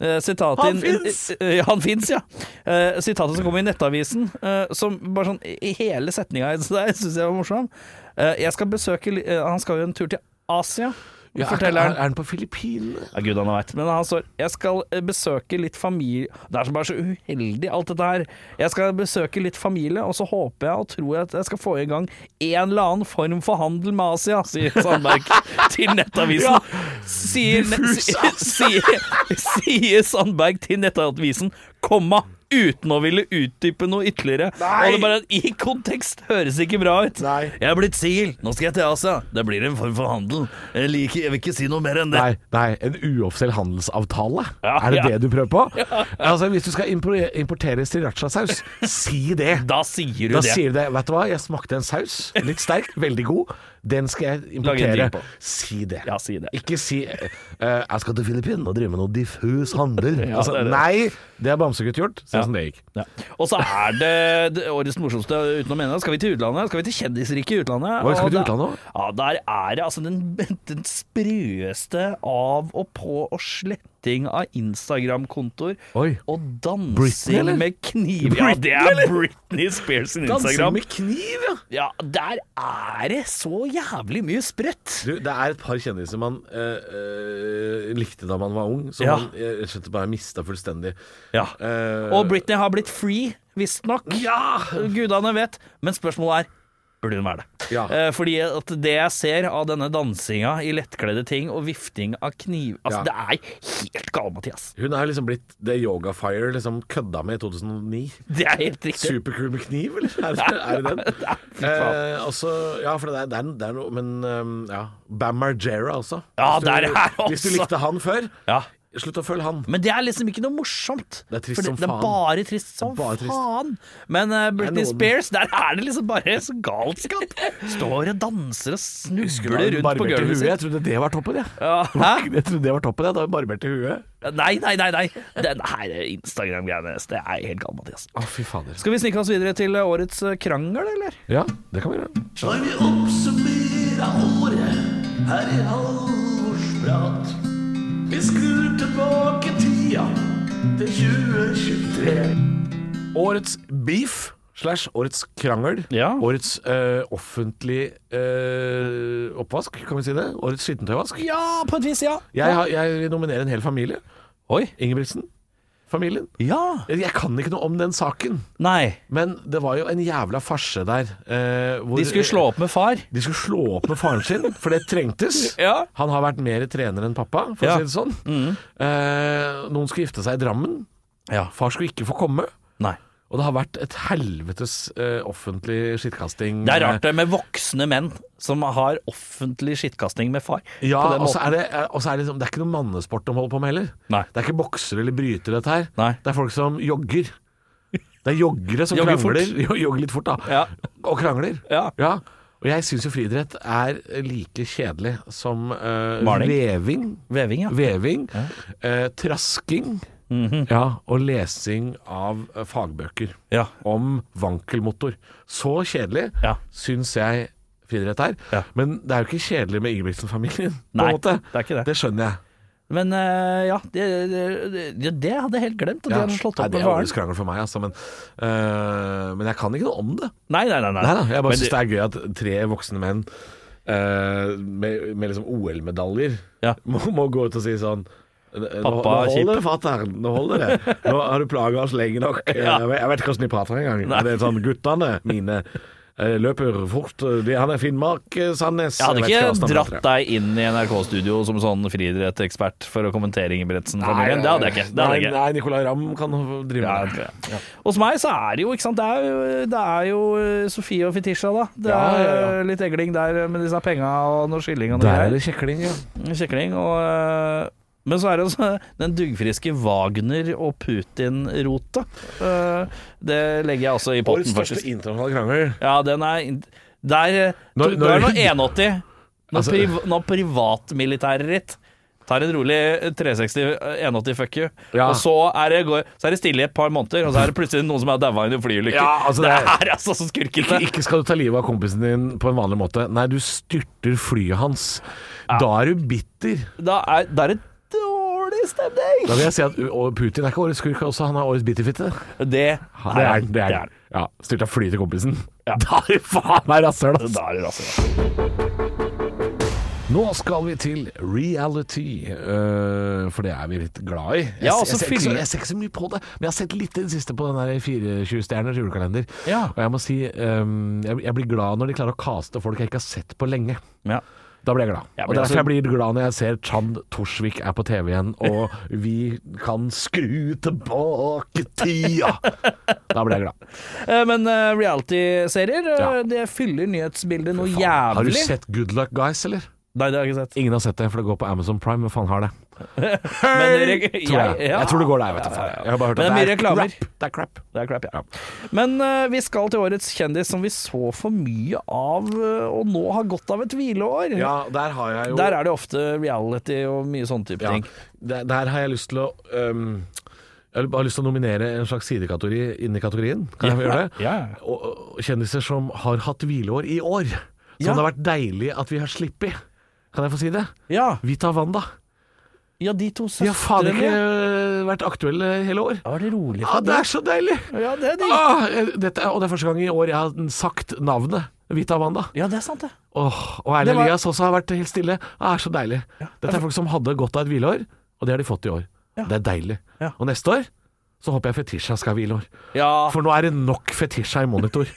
Eh, sitatet Han inn- finnes! eh, eh, han fins, ja. Eh, sitatet som kom i Nettavisen, eh, som bare sånn i hele setninga (laughs) der syns jeg var morsom. Eh, jeg skal besøke li- eh, Han skal jo en tur til Asia, Ja, er, forteller er, han. er den på Filippinene? Ja, gudene veit. Men han står 'Jeg skal eh, besøke litt familie' Det er så bare så uheldig, alt dette her. 'Jeg skal besøke litt familie, og så håper jeg og tror jeg at jeg skal få i gang en eller annen form for handel med Asia', (laughs) sier Sandberg til Nettavisen. Ja, sier, diffus, sier, sier Sandberg til Nettavisen, komma Uten å ville utdype noe ytterligere. Nei! Og det bare I kontekst høres ikke bra ut. Nei. Jeg er blitt singel, nå skal jeg til Asia. Det blir en form for handel. Jeg, liker, jeg vil ikke si noe mer enn det. Nei, nei, en uoffisiell handelsavtale? Ja, er (laughs) det ja. det du prøver på? Altså, Hvis du skal impor- importere sriracha-saus, si det. Da sier du Da det. sier du det. Vet du hva, jeg smakte en saus. Litt sterk, veldig god. Den skal (laughs) jeg Lag en importere. drink på. Si det. Ja, si det. Ikke si eh, 'Jeg skal til Filippinene og drive med noe diffus handel'. (laughs) Ja, altså, det er det. Nei, det er bamsegutt gjort. Se Ja. som det gikk. Ja. Og så er det, det årets morsomste uten å mene det. Skal vi til utlandet? Skal vi til kjendisrike utlandet? Oi, skal vi til Og da- utlandet også? Ja, der er det altså den, (laughs) den sprøeste av og på og sletting av Instagram-kontoer. Oi. Og dansing Britney, eller? med kniv. Ja, det er Britney Spears sin Dansing Instagram. med kniv, ja! Ja, der er det så jævlig mye sprøtt. Du, det er et par kjendiser man eh, eh, likte da man var ung, som Ja. man eh, rett og slett bare mista fullstendig. Ja. Eh, Og Britney har blitt free, visstnok. Ja! Gudene vet. Men spørsmålet er Burde hun være det? Ja. Eh, fordi at det jeg ser av denne dansinga i lettkledde ting og vifting av kniv Altså, Ja. det er helt gale, Mathias. Hun er liksom blitt det Yoga Fire liksom kødda med i 2009. Det er helt riktig. Superkul med kniv, eller? Er det, (laughs) er det den? Ja, fy faen. Eh, også, ja, for det er, det er, det er noe Men ehm, ja. Bam Margera også. Ja, Hvis der er også. Hvis du likte han før, Ja. slutt å følge han. Men det er liksom ikke noe morsomt. Det er trist For som Det faen. er bare trist som Bare trist. faen. Men eh, Britney noen- Spears, der er det liksom bare så galskap. Står og danser og snubler rundt på gulvet sitt. Jeg trodde det var toppen, jeg. Ja, hæ? (laughs) Jeg trodde det var toppen, jeg. Da hun barberte huet. Nei, nei, nei. nei. Den her Instagram-greiene hennes, det er helt galt, Mathias. Å, fy fader. Skal vi snike oss videre til årets eh, krangel, eller? Ja, det kan vi gjøre. Når vi oppsummerer året her i Halvorsprat Vi skrur tilbake tida til 2023 Årets beef slash årets krangel. Ja. Årets eh, offentlig eh, oppvask, kan vi si det? Årets skittentøyvask. Ja, på et vis, ja. Jeg, har- jeg vil nominere en hel familie. Oi. Ingebrigtsen. Familien. Ja. Jeg kan ikke noe om den saken, Nei. men det var jo en jævla farse der. eh, hvor- De skulle slå opp med far. De skulle slå opp med faren sin, for det trengtes. (laughs) Ja. Han har vært mer trener enn pappa, for Ja. Mm. å si det sånn. Eh, noen skulle gifte seg i Drammen. Ja. Far skulle ikke få komme. Nei. Og det har vært et helvetes eh, offentlig skittkasting. eh, Det er rart det med voksne menn som har offentlig skittkasting med far. Ja, på den og så måten. er det, og så er det, liksom, det er ikke noe mannesport de holder på med heller. Nei. Det er ikke boksere eller brytere, dette her. Nei. Det er folk som jogger. Det er joggere som Jogger fort. krangler. (laughs) Jo- Jogger litt fort, da. Ja. Og krangler. Ja. Og jeg syns jo friidrett er like kjedelig som eh, Maling. veving, Veving, ja. Mhm. veving eh, trasking ja, og lesing av eh, fagbøker Ja. om vankelmotor. Så kjedelig Ja. syns jeg friidrett er. Ja. Men det er jo ikke kjedelig med Ingebrigtsen-familien. på Nei, en måte. det er ikke det. Det skjønner jeg. Men eh, ja, det, det, det, det hadde jeg helt glemt. At de Ja. hadde slått Nei, opp det med er årets faren. krangel for meg, altså. Men, øh, men jeg kan ikke noe om det. Nei, nei, nei. nei. Nei da. Jeg Men bare syns det er gøy at tre voksne menn øh, med, med liksom OL-medaljer Ja. må, må gå ut og si sånn Pappa nå, nå er kjip. holder det, fatter'n. Nå holder det. Nå har du plaga oss lenge (laughs) nok. Jeg, vet, jeg vet ikke hvordan de prater engang. Men Det er sånn guttene mine eh, løper fort. De, han er Finnmark, eh, Sandnes Jeg hadde vet hvordan ikke han dratt prater. deg inn i NRK-studio som sånn friidrettekspert for å kommentere Ingebrigtsen-familien. Det hadde jeg ikke. Det hadde jeg Nei, ikke. nei, Nicolay Ramm kan Ja, drive med det det. hadde jeg ikke. Hos meg så er det jo, ikke sant, det er jo, det er jo eh, Sofie og Fetisha, da. Det Ja, er ja, ja. eh, litt egling der eh, med disse penga og noe skilling og noe Der er greier. det kjekling, ja. Kjekling. Og, eh, men så er det også (laughs) den duggfriske Wagner- og Putin-rotet. Eh, Det legger jeg også i Årets potten, største faktisk. internasjonale krangel. Ja, den er Der eh, Du Når- er når- nå 81. Når, Altså- priv, når privatmilitæret ditt tar en rolig eh, 360 81 fuck you, Ja. og så er, det, går- så er det stille i et par måneder, og så er det plutselig noen som er daua i en flyulykke. Ja, altså, det, det er- er altså så Ikke, skurkete. ikke skal du ta livet av kompisen din på en vanlig måte. Nei, du styrter flyet hans. Da er du bitter. Da er, da er det dårlig stemning. Da vil jeg si at og Putin er ikke årets skurk også, han er årets bitterfitte. Det Det er han. Det er han. han. Ja, styrta flyet til kompisen. Ja. (laughs) Da er du faen meg rasshøl, ass. Da er det rasshøl. Nå skal vi til reality, øh, for det er vi litt glad i. Jeg, Ja, jeg, altså, ser ikke så, fyller- jeg ser ikke så mye på det, men jeg har sett litt i det siste på den der 24-stjerners julekalender. Ja. Og jeg må si, øhm, jeg, jeg blir glad når de klarer å kaste folk jeg ikke har sett på lenge. Ja. Da blir jeg glad. Ja, og men Derfor altså- jeg blir glad når jeg ser Chand Torsvik er på TV igjen, (laughs) og vi kan skru tilbake tida. Da blir jeg glad. Eh, Men eh, reality-serier, eh, Ja. det fyller nyhetsbildet noe Faen. Har du jævlig. sett Good Luck Guys, eller? Nei, det har jeg ikke sett. Ingen har sett det, for det går på Amazon Prime. Hvem faen har det? Men jeg, Tror jeg. jeg tror det går der, vet du. faen. Jeg har bare hørt Men at det er mye reklamer. crap. Det er crap. Det er crap, ja. Men eh, vi skal til årets kjendis som vi så for mye av, eh, og nå har godt av et hvileår. Ja, der har jeg jo Der er det ofte reality og mye sånne type ja, ting. der, der har jeg lyst til å øhm, Jeg har lyst til å nominere en slags sidekategori inni kategorien. Kan jeg få gjøre det? Ja. og, og kjendiser som har hatt hvileår i år. Som Ja. det har vært deilig at vi har sluppet. Kan jeg få si det? Ja, Vita Wanda. ja, de to De har faen ikke søstrene. øh, vært aktuelle hele år. Ja, var det rolig Ja, for det dem? er så deilig! Ja, det er de. Ah, jeg- dette er, og det er første gang i år jeg har sagt navnet Vita Wanda. Ja, det er sant, det. Åh, og Erlend Det var- Elias også har vært helt stille. Ah, Det er så deilig. Dette er folk som hadde godt av et hvileår, og det har de fått i år. Det er deilig. Ja. Og neste år så håper jeg Fetisha skal ha hvileår. Ja, For nå er det nok fetisja (laughs) i monitor.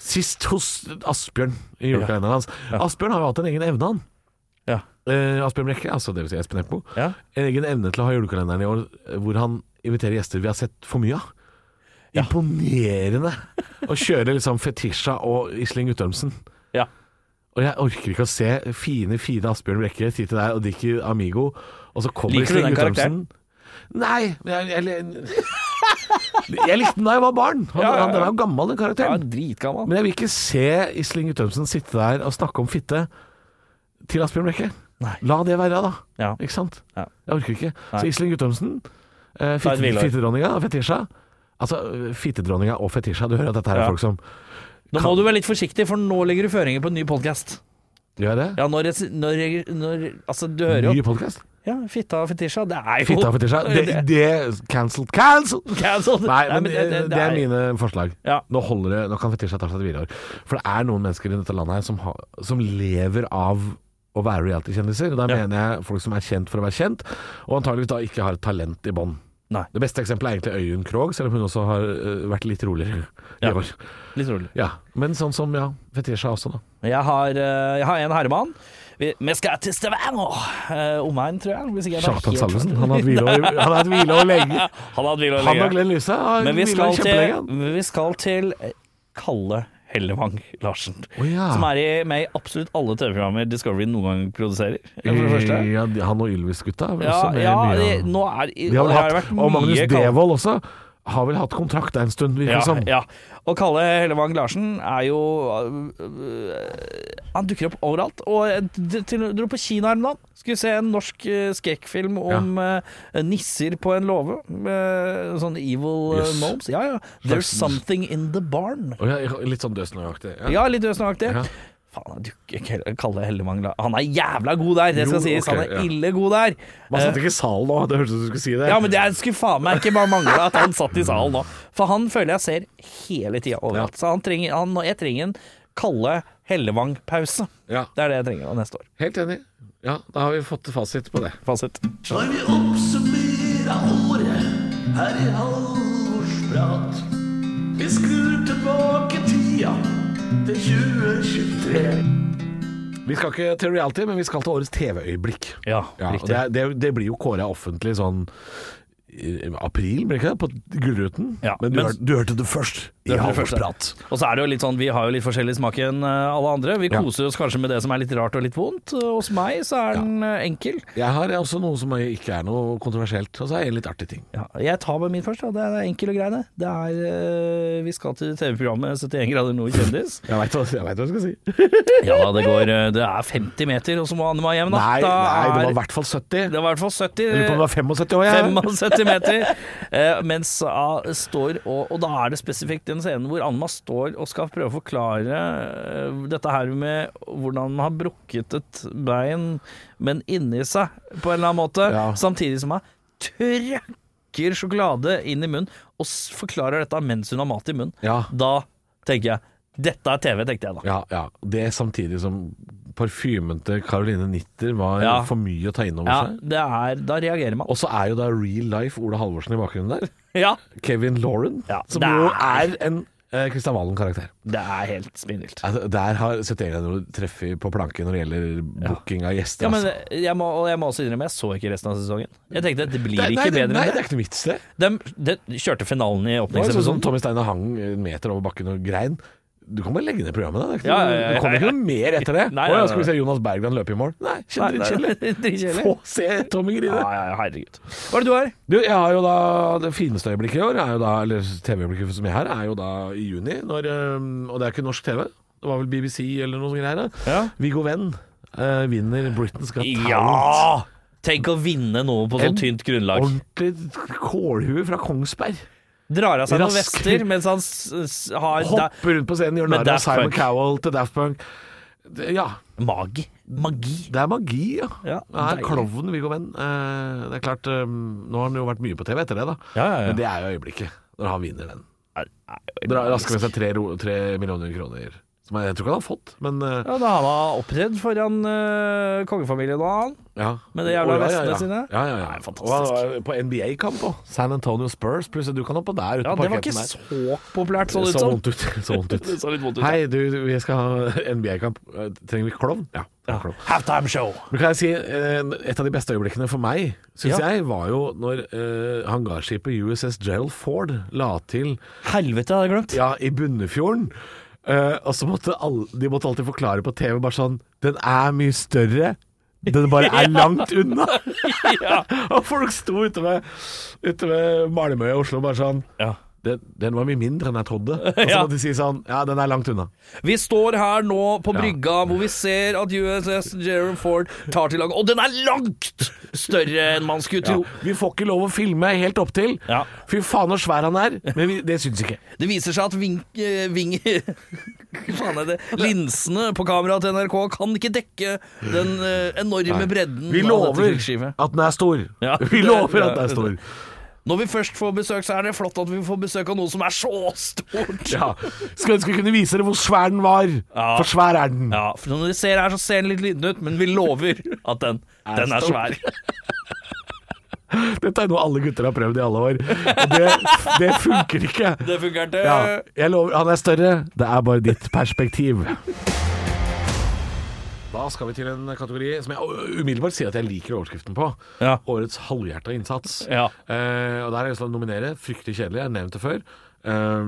Sist hos Asbjørn i julekalenderen hans. Asbjørn har jo hatt en egen evne, han. Ja. Eh, Asbjørn Brekke, altså dvs. Si Espen Eckbo. Ja. En egen evne til å ha julekalenderen i år eh, hvor han inviterer gjester vi har sett for mye av. Imponerende å kjøre liksom Fetisha og Isling Guttormsen. Ja. Og jeg orker ikke å se fine, fine Asbjørn Brekke sitte der og drikke Amigo, og så kommer Liker du Isling den Guttormsen. Nei, men jeg, jeg, jeg likte den da jeg var barn. Han, Ja, ja, ja. han, den er jo gammel, den ja karakteren. dritgammal. Men jeg vil ikke se Isling Guttormsen sitte der og snakke om fitte til Asbjørn Brekke. Nei. La det være, da. Ja. Ikke sant? Ja. Jeg orker ikke. Nei. Så Isling Guttormsen, eh, Ta et fitte- hvileår. fittedronninga og fetisja Altså, fittedronninga og fetisja. Du hører at dette her er Ja. folk som Nå må du være litt forsiktig, for nå legger du føringer på en ny podkast. Gjør jeg det? Ja, når, når, når Altså, du hører jo Ny podkast? Ja, Fitta og fetisja, (laughs) det er jo Fitta og fetisja. Det, det Cancelled. Cancelled! Cancelled. Nei, men men det, det, er mine forslag. Ja. Nå holder det, nå kan Fetisha ta seg et hvileår. For det er noen mennesker i dette landet her som, har- som lever av å være reality-kjendiser. Og Da Ja. mener jeg folk som er kjent for å være kjent, og antageligvis da ikke har et talent i bånn. Nei. Det beste eksempelet er egentlig Øyunn Krogh, selv om hun også har øh, vært litt roligere Ja. i år. Litt rolig. Ja. Men sånn som ja, Fetisha også, da. Jeg har, eh, jeg har en herremann. Vi, vi skal til Stavanger! Eh, Omegn, tror jeg. Hvis ikke jeg tar Kjartan helt Salvesen. feil. Han har hatt hvileår han har hatt hvileår lenge. (laughs) Han har hatt hvile og Han og legge. Glenn Lyse har Men vi skal, hvileår til, kjempelenge. men vi skal til eh, Kalle Hellevang Larsen. Å ja. Som er i, med i absolutt alle TV-programmer Discovery noen gang produserer. For det første. Ja, han og Ylvis-gutta er vel Ja, Eh, også med ja i mye det, av- nå er det De har har vel hatt, vært og Magnus mye Kalle- Devold også har vel hatt kontrakt en stund, virker Ja, det som. ja. Og Kalle Hellevang Larsen er jo øh, Han dukker opp overalt. Og jeg d- til- dro på Kina her om dagen. Skulle se en norsk øh, skrekkfilm om øh, nisser på en låve. Øh, sånn evil øh, Jøss. gnomes. Ja, ja. There's something in the barn. Og ja, litt sånn dødsnøyaktig. Ja, litt øsnaktig. Ja. Faen, han dukker ikke heller- Kalle Hellevang La- Han er jævla god der, det skal Jo, sies. ok, han er ja. ille god der. Man Eh, satt ikke i salen nå, det hørtes ut som du skulle si det. ja, men det er- skulle faen meg ikke bare mangle at han satt i salen nå. For han føler jeg ser hele tida overalt. Så han trenger, han, jeg trenger en kalle Hellevang-pause. Ja. Det er det jeg trenger av neste år. Helt enig. Ja, da har vi fått fasit på det. Fasit. Når vi oppsummerer året her i Halvorsprat. Vi skrur tilbake tida til 2023. Vi skal ikke til reality, men vi skal til årets TV-øyeblikk. Ja, Ja, og riktig. det, er- det, er- det blir jo kåra offentlig sånn i april, blir det ikke det? På Gullruten. Ja, men du, men- hør- Du hørte det først i hørte det først, ja. Halvorsprat. Og så er det jo litt sånn, Vi har jo litt forskjellig smak enn eh, alle andre. Vi Ja. koser oss kanskje med det som er litt rart og litt vondt. Eh, Hos meg så er den eh, enkel. jeg har også noe som ikke er noe kontroversielt, og så er det en litt artig ting. Ja, jeg tar med min først. Da. Det er enkel og grei, det. Det er eh, Vi skal til TV-programmet 71 grader nord kjendis. (laughs) Jeg veit hva, jeg vet hva jeg skal si. Ja, det går eh, Det er 50 meter, og så må Anne Mai hjem, da. Nei, da nei, det var i er, hvert fall 70. det var i hvert fall 70 Jeg lurer på om det var 75 år, jeg. 75 meter. Eh, mens A står og, og da er det spesifikt den scenen hvor Anma står og skal prøve å forklare eh, dette her med hvordan man har brukket et bein, men inni seg på en eller annen måte. Ja. Samtidig som hun trykker sjokolade inn i munnen og s- forklarer dette mens hun har mat i munnen. Ja. Da tenker jeg Dette er TV, tenkte jeg da. Ja, ja. Det samtidig som parfymen til Caroline Nitter var Ja. for mye å ta inn over Ja, seg. det er, da reagerer man. Og så er jo da real life Ola Halvorsen i bakgrunnen der. Ja, Kevin Lauren, Ja, som det jo er- er en eh, Kristian Valen-karakter. det er helt spinnvilt. Altså, Der har 71 grader treffet på planken når det gjelder booking av gjester. Ja, men eh, altså. jeg må, og jeg må også innrømme, jeg så ikke resten av sesongen. Jeg tenkte at det blir Nei, nei, ikke det- bedre nei, enn det det. er ikke noe vits det. De, de kjørte finalen i Det var jo sånn som åpningsepisoden. Tommy Steine hang en meter over bakken og grein. Du kan bare legge ned programmet, da. Det, er ikke Ja, noe, ja, ja, det kommer ja, ikke noe mer etter det. Nei, Å, nei, ja, skal vi nei. se Jonas Bergland løpe i mål? Nei, Nei, kjent nei, (laughs) dritkjedelig. dritkjedelig. Få se Tommy grine. Ja, ja, ja, herregud. Hva er det du har? Du, jeg har jo da Det fineste øyeblikket i år, er jo da, eller TV-øyeblikket som jeg har, er jo da i juni. Når, øhm, og det er ikke norsk TV. Det var vel BBC eller noe sånt greier. da. Ja. Viggo Venn øh, vinner Britain's Got Talent. Ja! Tenk å vinne noe på En sånn tynt grunnlag. Ordentlig kålhue fra Kongsberg. Drar av seg noen Rask. vester mens han s- s- har da, Hopper rundt på scenen, gjør Med narr av Daft Simon Punk. Cowell til Daft Punk. Det, ja. magi. Magi. Det er magi, ja. Ja, det er deilig. klovnen Viggo Venn. Eh, det er klart, eh, nå har han jo vært mye på TV etter det, da. Ja, ja, ja. Men det er jo øyeblikket når han vinner den. Er- er jo Dra- Rasker med seg tre, ro- tre millioner kroner. Som jeg, jeg tror ikke han har fått, men eh, Ja, da han har opptredd foran øh, kongefamilien og han. ja. Med de jævla Å, ja, vestene ja, ja. sine? Ja, ja, ja. Nei, fantastisk. Og han var på NBA-kamp òg. San Antonio Spurs. Plutselig du kan opp på der ute Ja, på Det var ikke parketten der. så populært, så det ut Så som. vondt ut. (laughs) Så vondt ut. Det (laughs) så litt vondt ut, ja. Hei, du, du, vi skal ha NBA-kamp. Eh, Trenger vi klovn? Ja. vi har klovn. Halftime show. Men kan jeg si, eh, et av de beste øyeblikkene for meg, syns Ja. jeg, var jo når eh, hangarskipet USS Gerald Ford la til Helvete, jeg hadde glemt. ja, i Bunnefjorden. Eh, og så måtte alle, de måtte alltid forklare på TV bare sånn Den er mye større. Den bare (laughs) er langt unna. (laughs) og folk sto ute ved, ute ved Malmø i Oslo bare sånn Ja. den, den var mye mindre enn jeg trodde. (laughs) Og så Ja. måtte de si sånn Ja, den er langt unna. Vi står her nå på brygga hvor vi ser at USS Jerome Ford tar til lag Og den er langt større enn man skulle Ja. tro! Vi får ikke lov å filme helt opptil. Ja. Fy faen så svær han er. Men vi, det syns ikke. Det viser seg at vink... eh, ving... (laughs) Hva faen er det? Linsene på kameraet til NRK kan ikke dekke den eh, enorme bredden Vi av dette lover krigsskipet. at den er stor. (laughs) Ja. Vi lover at (laughs) den er stor. Når vi først får besøk, så er det flott at vi får besøk av noe som er så stort! Ja. Skulle ønske vi kunne vise dere hvor svær den var. Ja. For svær er den. Ja, for når dere ser her, så ser den litt liten ut, men vi lover at den, den er svær. (laughs) Dette er noe alle gutter har prøvd i alle år. Og det, det funker ikke. (laughs) Det funker ikke. Ja. Jeg lover, han er større. Det er bare ditt perspektiv. Da skal vi til en kategori som jeg umiddelbart sier at jeg liker overskriften på. Ja. Årets halvhjerta innsats. Ja. Eh, og Der har jeg lyst til å nominere. Fryktelig kjedelig, jeg har nevnt det før. Eh,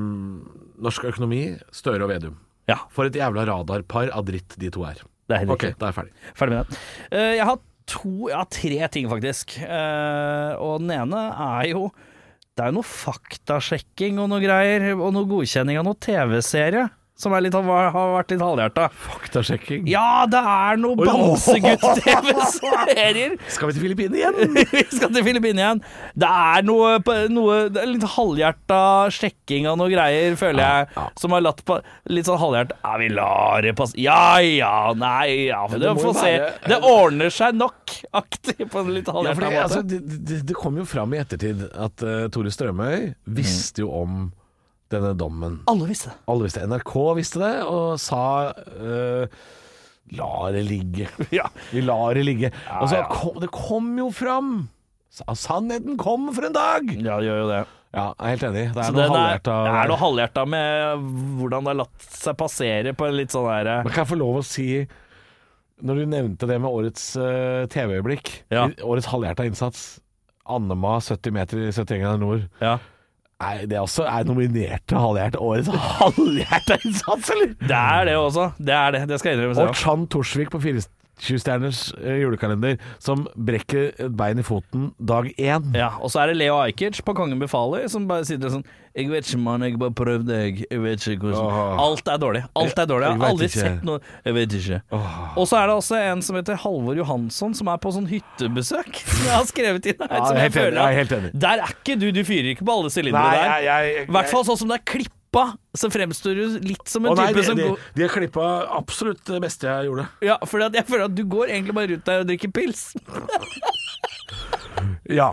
norsk økonomi, Støre og Vedum. Ja, For et jævla radarpar av dritt de to er. det er helt Ok, riktig. da er jeg ferdig. Ferdig med det. Eh, jeg har to, ja, tre ting faktisk. Eh, og den ene er jo Det er jo noe faktasjekking og noe greier, og noe godkjenning av noe TV-serie. Som er litt, har har vært litt halvhjerta. Faktasjekking. Ja, det er noe Bamsegutt-TV-serier! Skal vi til Filippinene (laughs) igjen? Vi skal til Filippinene igjen. Det er noe, på- noe det er litt halvhjerta sjekking av noe greier, føler jeg. Som har latt på Litt sånn halvhjerta Ja, vi lar det passe Ja ja, nei ja. Det, det må jo får se. være- Det ordner seg nok-aktig på en litt Ja, halvhjerta for det, måte. altså, det, det, det kom jo fram i ettertid at eh, Tore Strømøy visste jo om denne dommen. Alle visste det. Alle visste det. NRK visste det, og sa eh, La det ligge. ja, vi lar det ligge. og så ja. kom, det kom jo fram! Sa- Sannheten kom for en dag! Ja, det gjør jo det. Ja, jeg er helt enig. Det Så er det noe er, halvhjerta det er noe halvhjerta med hvordan det har latt seg passere på en litt sånn Men derre kan jeg få lov å si Når du nevnte det med årets eh, TV-øyeblikk Ja. Årets halvhjerta innsats Annema 70 meter i 71 grader nord ja. Nei, det også er nominert til halvhjerta Årets halvhjerta innsats, eller? Det er det også. Det er det. Det skal jeg innrømme. Og selv. Chan Torsvik på 24-stjerners eh, julekalender Som brekker et bein i foten dag 1 Ja, og så er det Leo Ajkic på Kongen befaler som bare sier det sånn Jeg vet ikke, mann. Jeg bare prøvde, jeg. Jeg vet ikke hvordan Åh. Alt er dårlig. Alt er dårlig. Jeg Jeg har vet aldri ikke. sett noe Jeg vet ikke. Og så er det også en som heter Halvor Johansson, som er på sånn hyttebesøk. (laughs) Som jeg har skrevet inn her. Ja, som jeg er jeg helt enig, føler at- jeg er helt enig. Der er ikke du. Du fyrer ikke på alle Nei, sylindere der. jeg- jeg- I hvert fall sånn som det er klippa, så fremstår du litt som en Å nei, type de, som de, går de har klippa absolutt det beste jeg gjorde. Ja, for jeg føler at du går egentlig bare rundt der og drikker pils. Ja.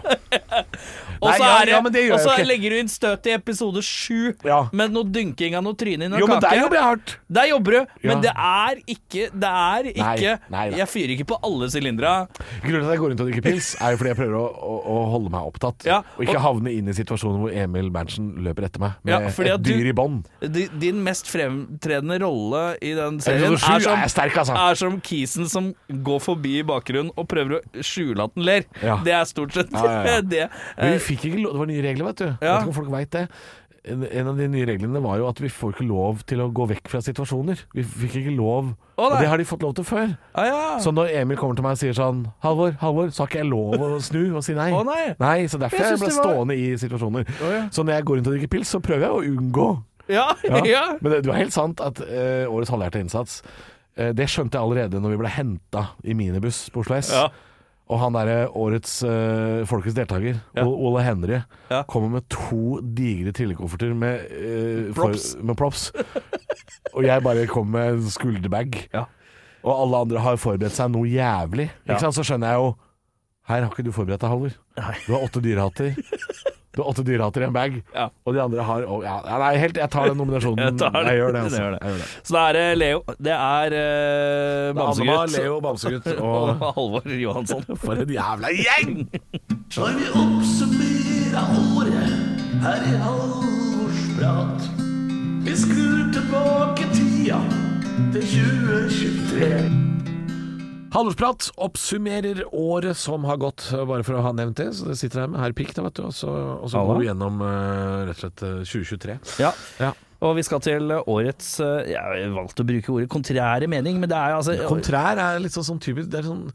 Og så ja, er det- ja, men det gjør og jeg så jo ikke. legger du inn støt i episode sju Ja. med noe dynking av noe tryne inn i en Jo, men kake. der jobber jeg hardt. Der jobber du, men det Ja. er ikke Det er ikke nei, nei. Jeg fyrer ikke på alle sylindere. Grunnen til at jeg går rundt og drikker pils Er jo fordi jeg prøver å, å, å holde meg opptatt Ja, Og ikke og- havne inn i situasjonen hvor Emil Berntsen løper etter meg Med Ja, fordi at et du- dyr i bånd Di- Din mest fremtredende rolle i den serien Episode sju er som, er sterk, altså. er som kisen som går forbi i bakgrunnen og prøver å skjule at den ler. Ja. Det er stort sett Ja, ja, (laughs) ja. det. Eh, Men vi fikk ikke lov, Det var nye regler, vet du. Jeg Ja. vet ikke om folk vet det. En, en av de nye reglene var jo at vi får ikke lov til å gå vekk fra situasjoner. Vi fikk ikke lov. Å, og nei. det har de fått lov til før. Ah, ja. Så når Emil kommer til meg og sier sånn 'Halvor, Halvor, så har ikke jeg lov å snu og si nei'. Å, nei. Så derfor Jeg jeg, synes ble det var- stående i situasjoner. ja. Så når jeg går rundt og drikker pils, så prøver jeg å unngå. ja, (laughs) ja. Men det, det var helt sant at eh, årets halvhjerta innsats eh, Det skjønte jeg allerede når vi ble henta i minibuss på Oslo S. Ja. Og han derre årets eh, folkets deltaker, Ja. Ole- Ole Henry, Ja. kommer med to digre trillekofferter med, eh, Props. For, (laughs) med props. og jeg bare kommer med en skulderbag. Ja. Og alle andre har forberedt seg noe jævlig. Ja. Ikke sant? Så skjønner jeg jo Her har ikke du forberedt deg, Halvor. Du har åtte dyrehatter. Du har åtte dyrehatter i en bag, Ja. og de andre har å, ja, Nei, helt, jeg tar den Jeg nominasjonen. tar det. gjør det, (laughs) altså. Jeg gjør det. Jeg gjør det. Så da er det Leo. Det er eh, Annema, Bamsegutt. Leo, Bamsegutt og Og Halvor Johansson. For en jævla gjeng! Når vi oppsummerer året her i Halvorsprat. Vi skrur tilbake tida til 2023. Halvorsprat oppsummerer året som har gått, bare for å ha nevnt det. Så det sitter her med herr Pikk, da, vet du. Og så, og så Halla. går vi gjennom eh, rett og slett eh, 2023. Ja. Ja. Og vi skal til årets eh, Jeg valgte å bruke ordet kontrære mening, men det er altså Kontrær er litt sånn, sånn typisk Det er sånn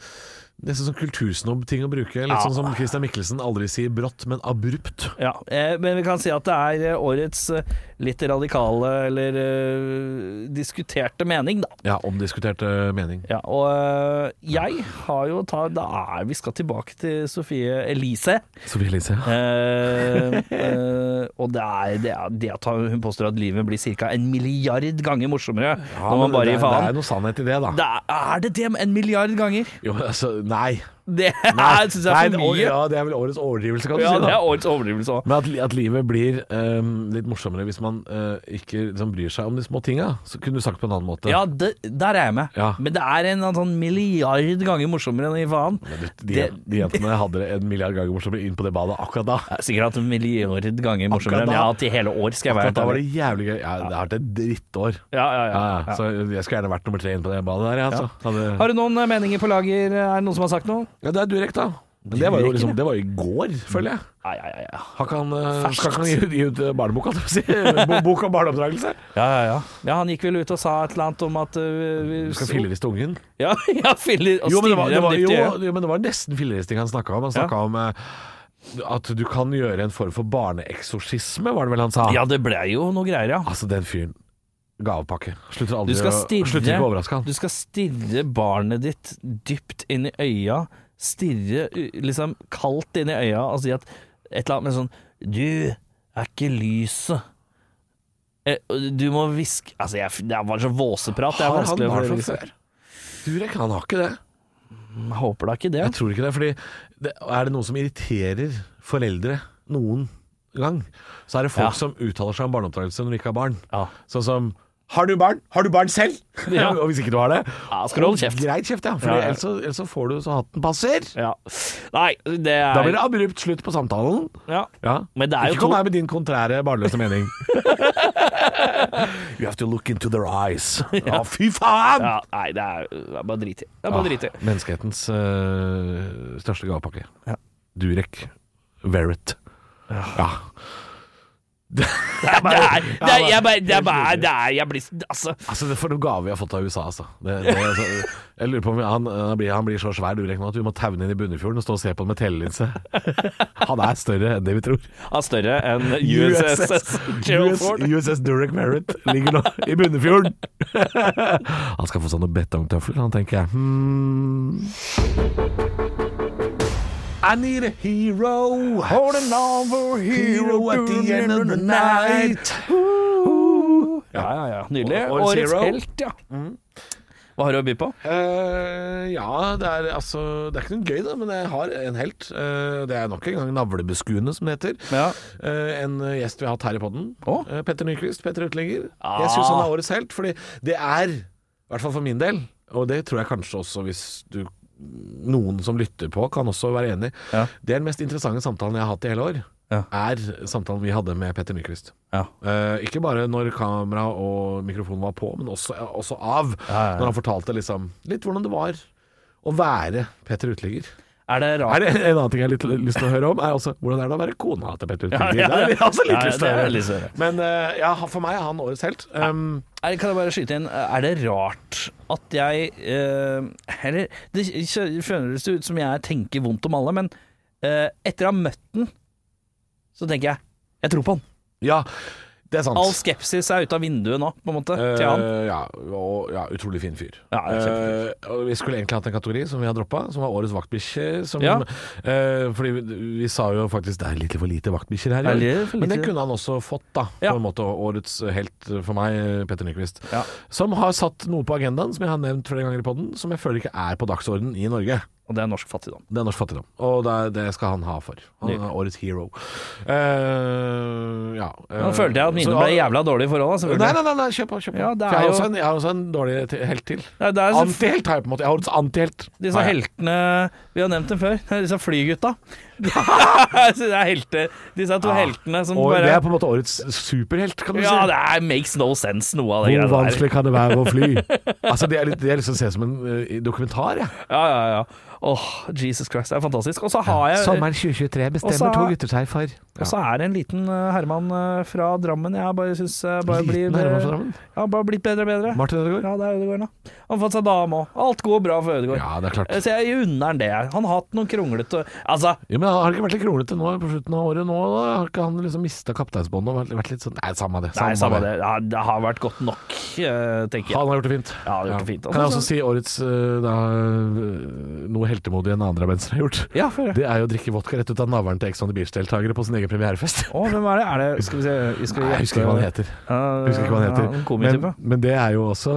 Nesten sånn kultursnobb-ting å bruke. Litt sånn som Christian Mikkelsen aldri sier brått, men abrupt. ja, eh, Men vi kan si at det er eh, årets eh, litt radikale eller eh, diskuterte mening, da. Ja, omdiskutert eh, mening. Ja, og eh, jeg har jo ta, Da er vi skal tilbake til Sofie Elise. Sofie Elise. Eh, eh, og det er det, er, det at hun påstår at livet blir ca. en milliard ganger morsommere når man bare det, gir er- det er faen. noe sannhet i det, da. Det er, er det det? En milliard ganger? Jo, altså, nei. Det er- synes (laughs) jeg er for Nei, å, mye. Ja, det er vel årets overdrivelse, kan du Ja, si. det da er årets overdrivelse òg. Men at, li- at livet blir ehm, litt morsommere hvis man eh, ikke liksom, bryr seg om de små tinga. Så kunne du sagt på en annen måte. Ja, det, der er jeg med. Ja. Men det er en sånn milliard ganger morsommere enn i faen. De, de, Det, de jentene hadde det en milliard ganger morsommere inn på det badet akkurat da. det er sikkert en milliard ganger Akkurat morsommere enn jeg da- har hatt i hele år, skal jeg være Akkurat helt da var ærlig. det jævlig gøy. Ja, det har vært et drittår. Ja, ja, ja. Ja, ja. Så jeg skulle gjerne vært nummer tre inne på det badet der. Ja, altså. Hadde- Har du noen eh, meninger på lager? Er det noen som har sagt noe? ja, det er Durek, da. Men det var jo Durek, liksom, det var jo i går, føler jeg. Ja, ja, ja. ja. Har ikke han, eh, skal ikke han gi ut- gi ut eh, barnebok, holdt jeg på å (laughs) si? Bo- Bok om barneoppdragelse? Ja, ja, ja. ja, han gikk vel ut og sa et eller annet om at eh, vi, Du skal filleriste ungen. Ja, (laughs) ja filler og Jo, men det var, det stirre dem var, dypt i jo, øyet. jo, men det var nesten filleristing han snakka om. Han snakka om eh, at du kan gjøre en form for barneeksorsisme, var det vel han sa? Ja, det ble jo noe greier, ja. Altså, den fyren. Gavepakke. Slutter Du aldri skal å- stirre Slutter ikke å overraske han. Du skal stirre barnet ditt dypt inn i øya, stirre u- liksom kaldt inn i øya og si at et eller annet med sånn Du er ikke lyset. Eh, Du må hviske Altså, jeg, det var så våseprat. Det er Har han vanskelig å barn fra forstå. før? Durek, han har ikke det. Jeg Håper da ikke det. Jeg tror ikke det, fordi det, er det noe som irriterer foreldre, noen gang, så er det folk Ja. som uttaler seg om barneoppdragelse når de ikke har barn. Ja. Sånn som har du barn? Har du barn selv? (laughs) Ja. og hvis ikke du har det Ja, skal du holde kjeft. Greit kjeft, ja. For Ja, ja. Ellers, så- ellers så får du så hatten passer. Ja. Nei, det er Da blir det abrupt slutt på samtalen. ja. Ja. Men det er jo ikke kom to- her med din kontrære, barnløse mening. (laughs) You have to look into their (laughs) eyes. Ja, fy faen! ja. Nei, det er, det er bare drit i. Det er bare drit i. Ah, menneskehetens eh, største gavepakke. Durek. Verrett. Ja. Det er, det er, jeg bare, det er, bare- det er, jeg blir, altså, Altså, det er for noen gave vi har fått av USA, altså. Det, det, altså jeg lurer på om han, han, blir, han blir så svær Durek nå at vi må taue ham inn i Bunnefjorden og stå og se på ham med telelinse. (laughs) Han er større enn det vi tror. han er større enn USS Gerald Ford. USS Durek Merritt ligger nå i Bunnefjorden. (laughs) han skal få sånne betongtøfler, han tenker jeg. Hmm. I need a hero. Holding on for a hero at the end of the night. Ja, ja, ja. Nydelig. Årets Årets hero. helt, ja. Hva har du å by på? Eh, ja, det er altså Det er ikke noe gøy, da, men jeg har en helt. Eh, det er nok en gang navlebeskuende, som det heter. Ja. Eh, en gjest vi har hatt her i podden. Å? Eh, Petter Nyquist. Petter Uteligger. Ah. Jeg syns han er årets helt, fordi det er, i hvert fall for min del, og det tror jeg kanskje også hvis du noen som lytter på, kan også være enig. Ja. Det er den mest interessante samtalen jeg har hatt i hele år. Ja. Er samtalen vi hadde med Petter Nyquist. Ja. Eh, ikke bare når kamera og mikrofon var på, men også, også av. Ja, ja, ja. Når han fortalte liksom, litt hvordan det var å være Petter Uteligger. Er det rart? Er det en annen ting jeg har litt lyst til å høre om, er også hvordan er det å være kona til Petter Ja, Uteligger. ja, (laughs) ja. Det har jeg også litt Ja, ja, lyst til det altså har å jeg høre. lyst til å høre. Men eh, ja, for meg er han årets helt. Um, Er, kan jeg bare skyte inn, eh, er det rart at jeg eh, Eller det kj- føles det ut som jeg tenker vondt om alle, men eh, etter å ha møtt den, så tenker jeg jeg tror på han. ja, det er sant. All skepsis er ute av vinduet nå, på en måte, til han. Eh, ja, og ja, utrolig fin fyr. Ja, kjempefin Eh, og vi skulle egentlig hatt en kategori som vi har droppa, som var Årets vaktbikkje. Som, Ja. eh, fordi vi, vi sa jo faktisk det er litt for lite vaktbikkjer her. Det i er år. litt for lite. Men det kunne han også fått, da. Ja. På en måte Årets helt for meg, Petter Nyquist. Ja. Som har satt noe på agendaen, som jeg har nevnt flere ganger i poden, som jeg føler ikke er på dagsordenen i Norge. Og det er norsk fattigdom. Det er norsk fattigdom, og det, er- det skal han ha for. Han er årets hero. Eh, ja. Nå følte jeg at mine ble jævla dårlige forhold, da, Nei, selvfølgelig. nei, nei, nei, kjør på. Kjøp på. Ja, det er For jeg, har jo- også en, jeg har også en dårlig te- helt til. Ja, altså, det er så- Antihelt har jeg på en måte. Jeg har årets antihelt. Disse Har jeg. heltene Vi har nevnt dem før. Det er Disse (laughs) flygutta. (laughs) Så det er helter. Disse to heltene som Og bare Ah, det er på en måte årets superhelt, kan du Ja, si. det er, makes no sense, noe av det Hvor greia der. vanskelig kan det være å (laughs) fly? altså, Det er litt, det er liksom å se som en eh, dokumentar, jeg. Ja, ja, ja. Åh, Jesus Christ, det er fantastisk. Og så har jeg Sommeren 2023 Også- bestemmer to gutter seg for. Og så er det en liten eh, Herman eh, fra Drammen. Jeg bare syns bare Liten blir eh, Herman fra Drammen? Ja, bare blitt bedre og bedre. Martin Ødegaard? Ja, det er Ødegaard, da. Han har fått seg dame òg. Alt går bra for Ødegaard. Ja, det er klart. Eh, Så jeg unner han det. Han har hatt noen kronglete Altså, Jo, men Har det ikke vært litt kronglete nå på slutten av året? nå da? Har ikke han liksom mista kapteinsbåndet og vært- vært litt sånn Nei, samme det. nei, samme det. Ja, det har vært godt nok, eh, tenker jeg. Han har gjort det fint. altså. Ja, han har gjort det fint. Kan jeg også si årets eh, da, eh, noe heltemodig en annen drammensere har gjort? Ja, for det. Det er jo å drikke vodka rett ut av navlen til Ex on the Beach-deltakere på sin egen premierefest. Å, hvem er det? Er det Skal vi se vi skal (laughs) Nei, jeg husker ikke hva han heter. Jeg husker ikke hva han Ja, en heter. Men, komitype. men det er jo også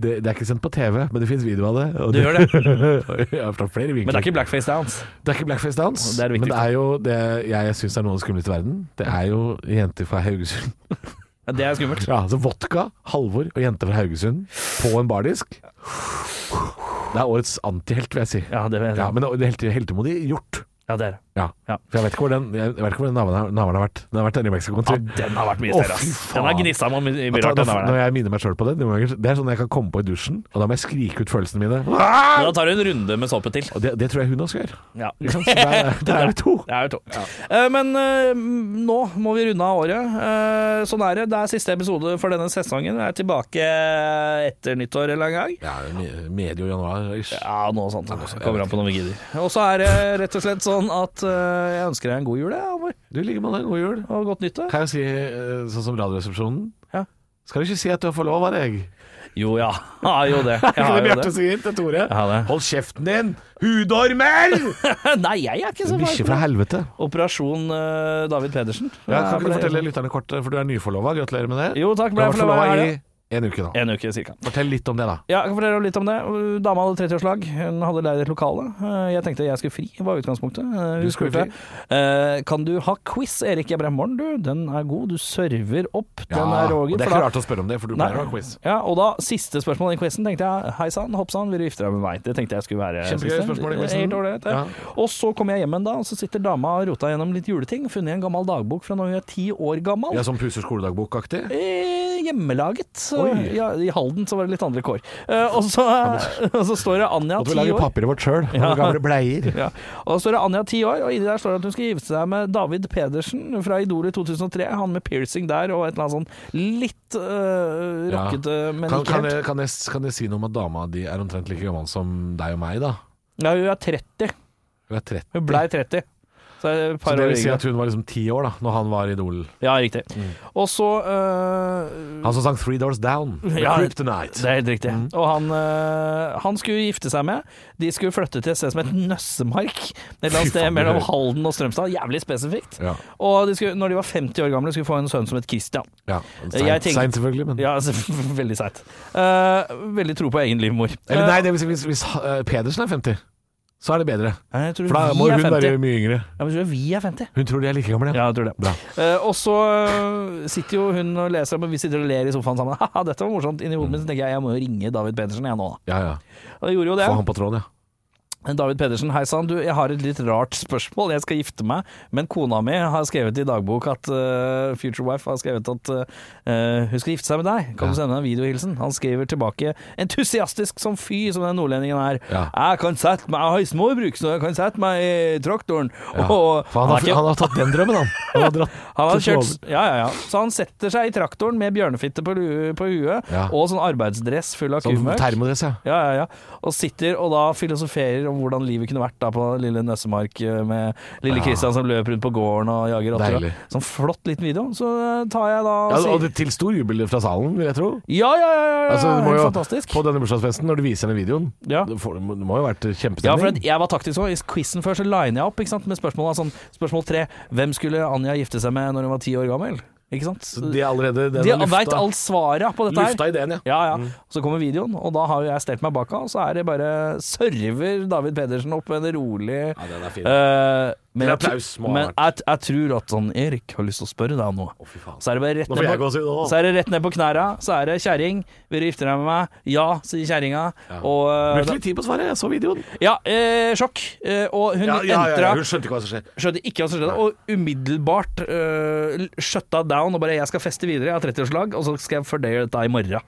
det, det er ikke sendt på TV, men det fins video av det. Og Det gjør (laughs) Jeg har tatt flere Men det er ikke blackface dance. Det er ikke Blackface Dance, Og det er det men det viktigste. er jo det jeg syns er noe av det skumleste i verden. Det er jo jenter fra Haugesund. (laughs) Ja, Det er skummelt. Ja, altså Vodka, Halvor og jenter fra Haugesund på en bardisk. Det er årets antihelt, vil jeg si. Ja, det, Ja, men det er helt, heltemodig gjort. ja, det er det. Ja. Ja. For jeg vet ikke hvor den, jeg vet ikke hvor den navlen har- navlen har vært. Den har vært nede i Mexico en Ja, tur. den har vært mye Å, større. fy ass. faen. Den har gnissa meg mye mye Vet du hva, rart. Den når, der. når jeg minner meg sjøl på det, noen ganger, det er sånn jeg kan komme på i dusjen, og da må jeg skrike ut følelsene mine. Men Da tar du en runde med såpe til. Og det, det tror jeg hun også gjør. Ja. Ikke sant? Så Der, der er vi to. Det er jo to. Eh, Men eh, m- nå må vi runde av året. Eh, Sånn er det. Det er siste episode for denne sesongen. Jeg er tilbake etter nyttår eller en gang. Ja, me- medio januar ish. Ja, noe sånt. Kommer an på når vi gidder. Og så er det rett og slett sånn at eh, jeg ønsker deg en god jul, jeg, Halvor. Du ligger med deg, god jul. Og godt nyttår. Kan jeg si, eh, sånn som Radioresepsjonen Ja. Skal du ikke si at du er forlova deg? Jo ja. (laughs) Ja, jo det. Jeg Ikke har det jo Bjarte det. sier til Tore? Jeg har det. Hold kjeften din, hudormer! Nei, jeg er ikke (laughs) så Bikkje for fra det. helvete. Operasjon eh, David Pedersen. Ja, kan ikke du fortelle lytterne kort, eh, for du er nyforlova. Gratulerer med det. Jo takk, ble jeg Du har vært forlova i forlova i helga. En uke, da. En uke cirka. Fortell litt om det, da. Ja, jeg kan fortelle litt om det. Dama hadde 30-årslag. Hun hadde leid et lokale. Eh, Jeg tenkte jeg skulle fri, var utgangspunktet. Eh, Hun skulle spurte eh, kan du ha quiz, Erik Ebremorn. Du, den er god. Du server opp. Den er og Roger. det er for ikke da- rart å spørre om det, for du Nei. pleier å ha quiz. Ja, og da, siste spørsmål i quizen, tenkte jeg hei sann, hopp sann, vil du gifte deg med meg? Det tenkte jeg skulle være Kjempegøy siste. spørsmål i quizen. Helt ålreit, det. Ja. Og så kom jeg hjem en dag, og så sitter dama og rota gjennom litt juleting, funnet en gammel dagbok fra da hun er ti år gammel. Ja, Som Puser skoledagbok-aktig? Eh, hjemmelaget. Oi. Ja, I Halden så var det litt andre kår. Eh, og, så, (laughs) og så står det Anja, Måtte ti vi lage år. papiret vårt sjøl. Ja. Gamle bleier. Ja. Og så står det Anja, ti år, og inni der står det at hun skal gifte seg med David Pedersen fra Idol i 2003. Han med piercing der og et eller annet sånn litt uh, Ja. rockete, men Kan, ikke kan, helt. jeg, kan, jeg, kan jeg si noe om at dama di er omtrent like gammel som deg og meg, da? Ja, hun er 30. Hun er 30. Hun blei 30. Så, er det et Så par det år vil si yngre. at hun var liksom ti år da Når han var idol Ja, riktig. Og så eh, Han Mm. som sang Three Doors Down (laughs) med Ja, Kryptonite Det er helt riktig. Og han, eh, han skulle gifte seg med. De skulle flytte til et sted som het Nøssemark. Et eller annet Fy sted faen, mellom det er- Halden og Strømstad. Jævlig spesifikt. Ja. Og de skulle, når de var 50 år gamle, skulle få en sønn som het Christian. ja, Jeg Seint tenker- seint selvfølgelig men. Ja, altså, (laughs) veldig seigt. Eh, veldig tro på egen livmor. Eller nei, det vil si hvis, hvis eh, Pedersen er 50 Så er det bedre Eh, jeg tror For da vi må er hun 50. være mye yngre Ja, men jeg tror vi er 50. Hun tror de er like gamle Ja, jeg tror det. Bra. Eh, og så eh, sitter jo hun og leser, men vi sitter og ler i sofaen sammen. (laughs) Haha, dette var morsomt. Inni hodet mitt så tenker jeg jeg må jo ringe David Pedersen jeg nå. da. Ja, ja Og jeg gjorde jo det. Få han på tråden, ja David Pedersen, hei sann, du, jeg har et litt rart spørsmål. Jeg skal gifte meg, men kona mi har skrevet i dagbok at eh, Future Wife har skrevet at eh, hun skal gifte seg med deg. Kan du sende meg en videohilsen? Han skriver tilbake entusiastisk som fy, som den nordlendingen er. Ja. Jeg kan sette meg, jeg har småbruk, så jeg kan sette meg i traktoren. Ja. Og, For har han, har, ikke- han har tatt den drømmen han Han har dratt (laughs) han har til kjørt, ja, ja, ja. Så han setter seg i traktoren med bjørnefitte på, lue, på huet Ja. og sånn arbeidsdress full av Sånn kumøkk. termodress, ja Ja, ja, ja. Og sitter og da filosoferer om hvordan livet kunne vært da på lille Nøssemark eh, med lille Kristian som løper rundt på gården og jager rotter. Deilig. Sånn flott liten video. Så eh, tar jeg da ja, og sier- det, til stor jubel fra salen, vil jeg tro ja, ja, ja, ja, ja. altså, det må helt jo, fantastisk. På denne bursdagsfesten, når du viser denne videoen Ja. Det, får, det må jo ha vært kjempestemning Ja, for at jeg var taktisk også. I quizen før så liner jeg opp ikke sant? med spørsmål sånn Spørsmål tre Hvem skulle Anja gifte seg med når hun var ti år gammel? Ikke sant? Så de er allerede den De har lufta- veit alt svaret på dette her. Lufta ideen, ja Ja, ja. Så kommer videoen, og da har jo jeg stelt meg bak han, og så er det bare server David Pedersen opp med en rolig Ja, den er fin. Eh, men Til jeg, tr- applaus, smart. men jeg, jeg tror at han Erik har lyst til å spørre deg om noe. så er det bare rett Nå får ned jeg på, gåsehud nå. så er det rett ned på knæra. Så er det kjerring. Vil du gifte deg med meg? Ja, sier kjerringa. Og eh, Brukte litt tid på å svare, jeg så videoen. da- Ja, eh, sjokk. Eh, og hun entra skjønte ikke hva som skjedde. Skjønte ikke hva som skjedde, og umiddelbart uh, shutta down og bare 'jeg skal feste videre, jeg har 30-årslag, og så skal jeg fordele dette i morgen'.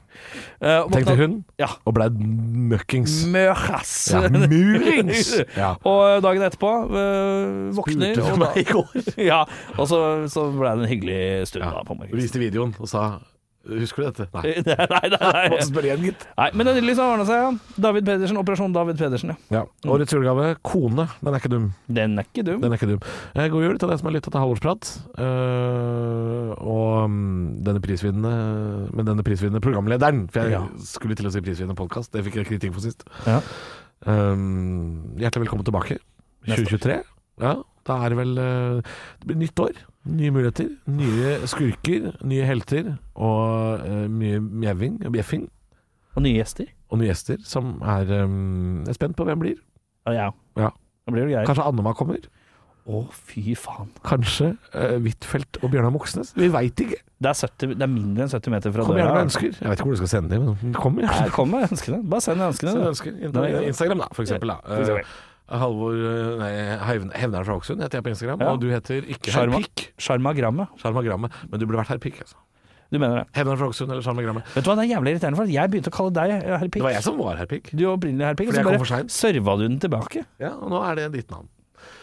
Eh, og Tenkte våkna- hun, Ja. og blei møkkings. Møras. Ja, (laughs) murings! Ja. Og dagen etterpå øh, våkner Spurte du og da- meg i går? (laughs) ja, og så, så ble det en hyggelig stund da på morgenen. Mm. Viste videoen og sa Husker du dette? Nei. (laughs) Nei, nei, (laughs) nei, Måtte nei. spørre igjen, gitt. nei. Men det er nydelig som har ordna seg. Ja. David Pedersen, Operasjon David Pedersen. Ja. Ja. Årets julegave, kone. Den er ikke dum. Den er ikke dum. Den er ikke dum. Eh, God jul til deg som har lytta til Halvorsprat. Eh, og mm, denne prisvinnende Men denne prisvinnende programlederen, for jeg Ja. skulle til å si prisvinnende podkast, det fikk jeg kritikk for sist. Ja. Um, hjertelig velkommen tilbake. 2023. Ja, da er det vel eh, Det blir nytt år. Nye muligheter. Nye skurker. Nye helter. Og eh, mye mjauing og bjeffing. Og nye gjester. Og nye gjester som er um, Jeg er spent på hvem blir. Ja, ja. Ja. Da blir det greier. Kanskje Annema kommer. Å, fy faen. Kanskje eh, Huitfeldt og Bjørnar Moxnes. Vi veit ikke. Det er, 70, det er mindre enn 70 meter fra Kom gjerne med døra. ønsker. Jeg vet ikke hvor du skal sende dem, men de kommer. Nei, Kom med ønskene. Bare send ønskene. (laughs) Send du. ønsker. Inn- Instagram, da, for eksempel. Da. For eksempel. Eh, Halvor eh, Nei, Hevn- Hevnar fra Hokksund heter jeg på Instagram, Ja. og du heter ikke Sjarma- Herpikk. Sjarmagrammet. Sjarmagrammet. Men du burde vært Herpikk, altså. Du mener det. Hevnar fra Hokksund eller Sjarmagrammet. Vet du hva, det er jævlig irriterende, for at jeg begynte å kalle deg eh, herr Det Pikk. var jeg som var Herpikk. Du var opprinnelig herr Pikk, og Fordi så jeg kom bare for sent. serva du den tilbake. Ja, og nå er det ditt navn.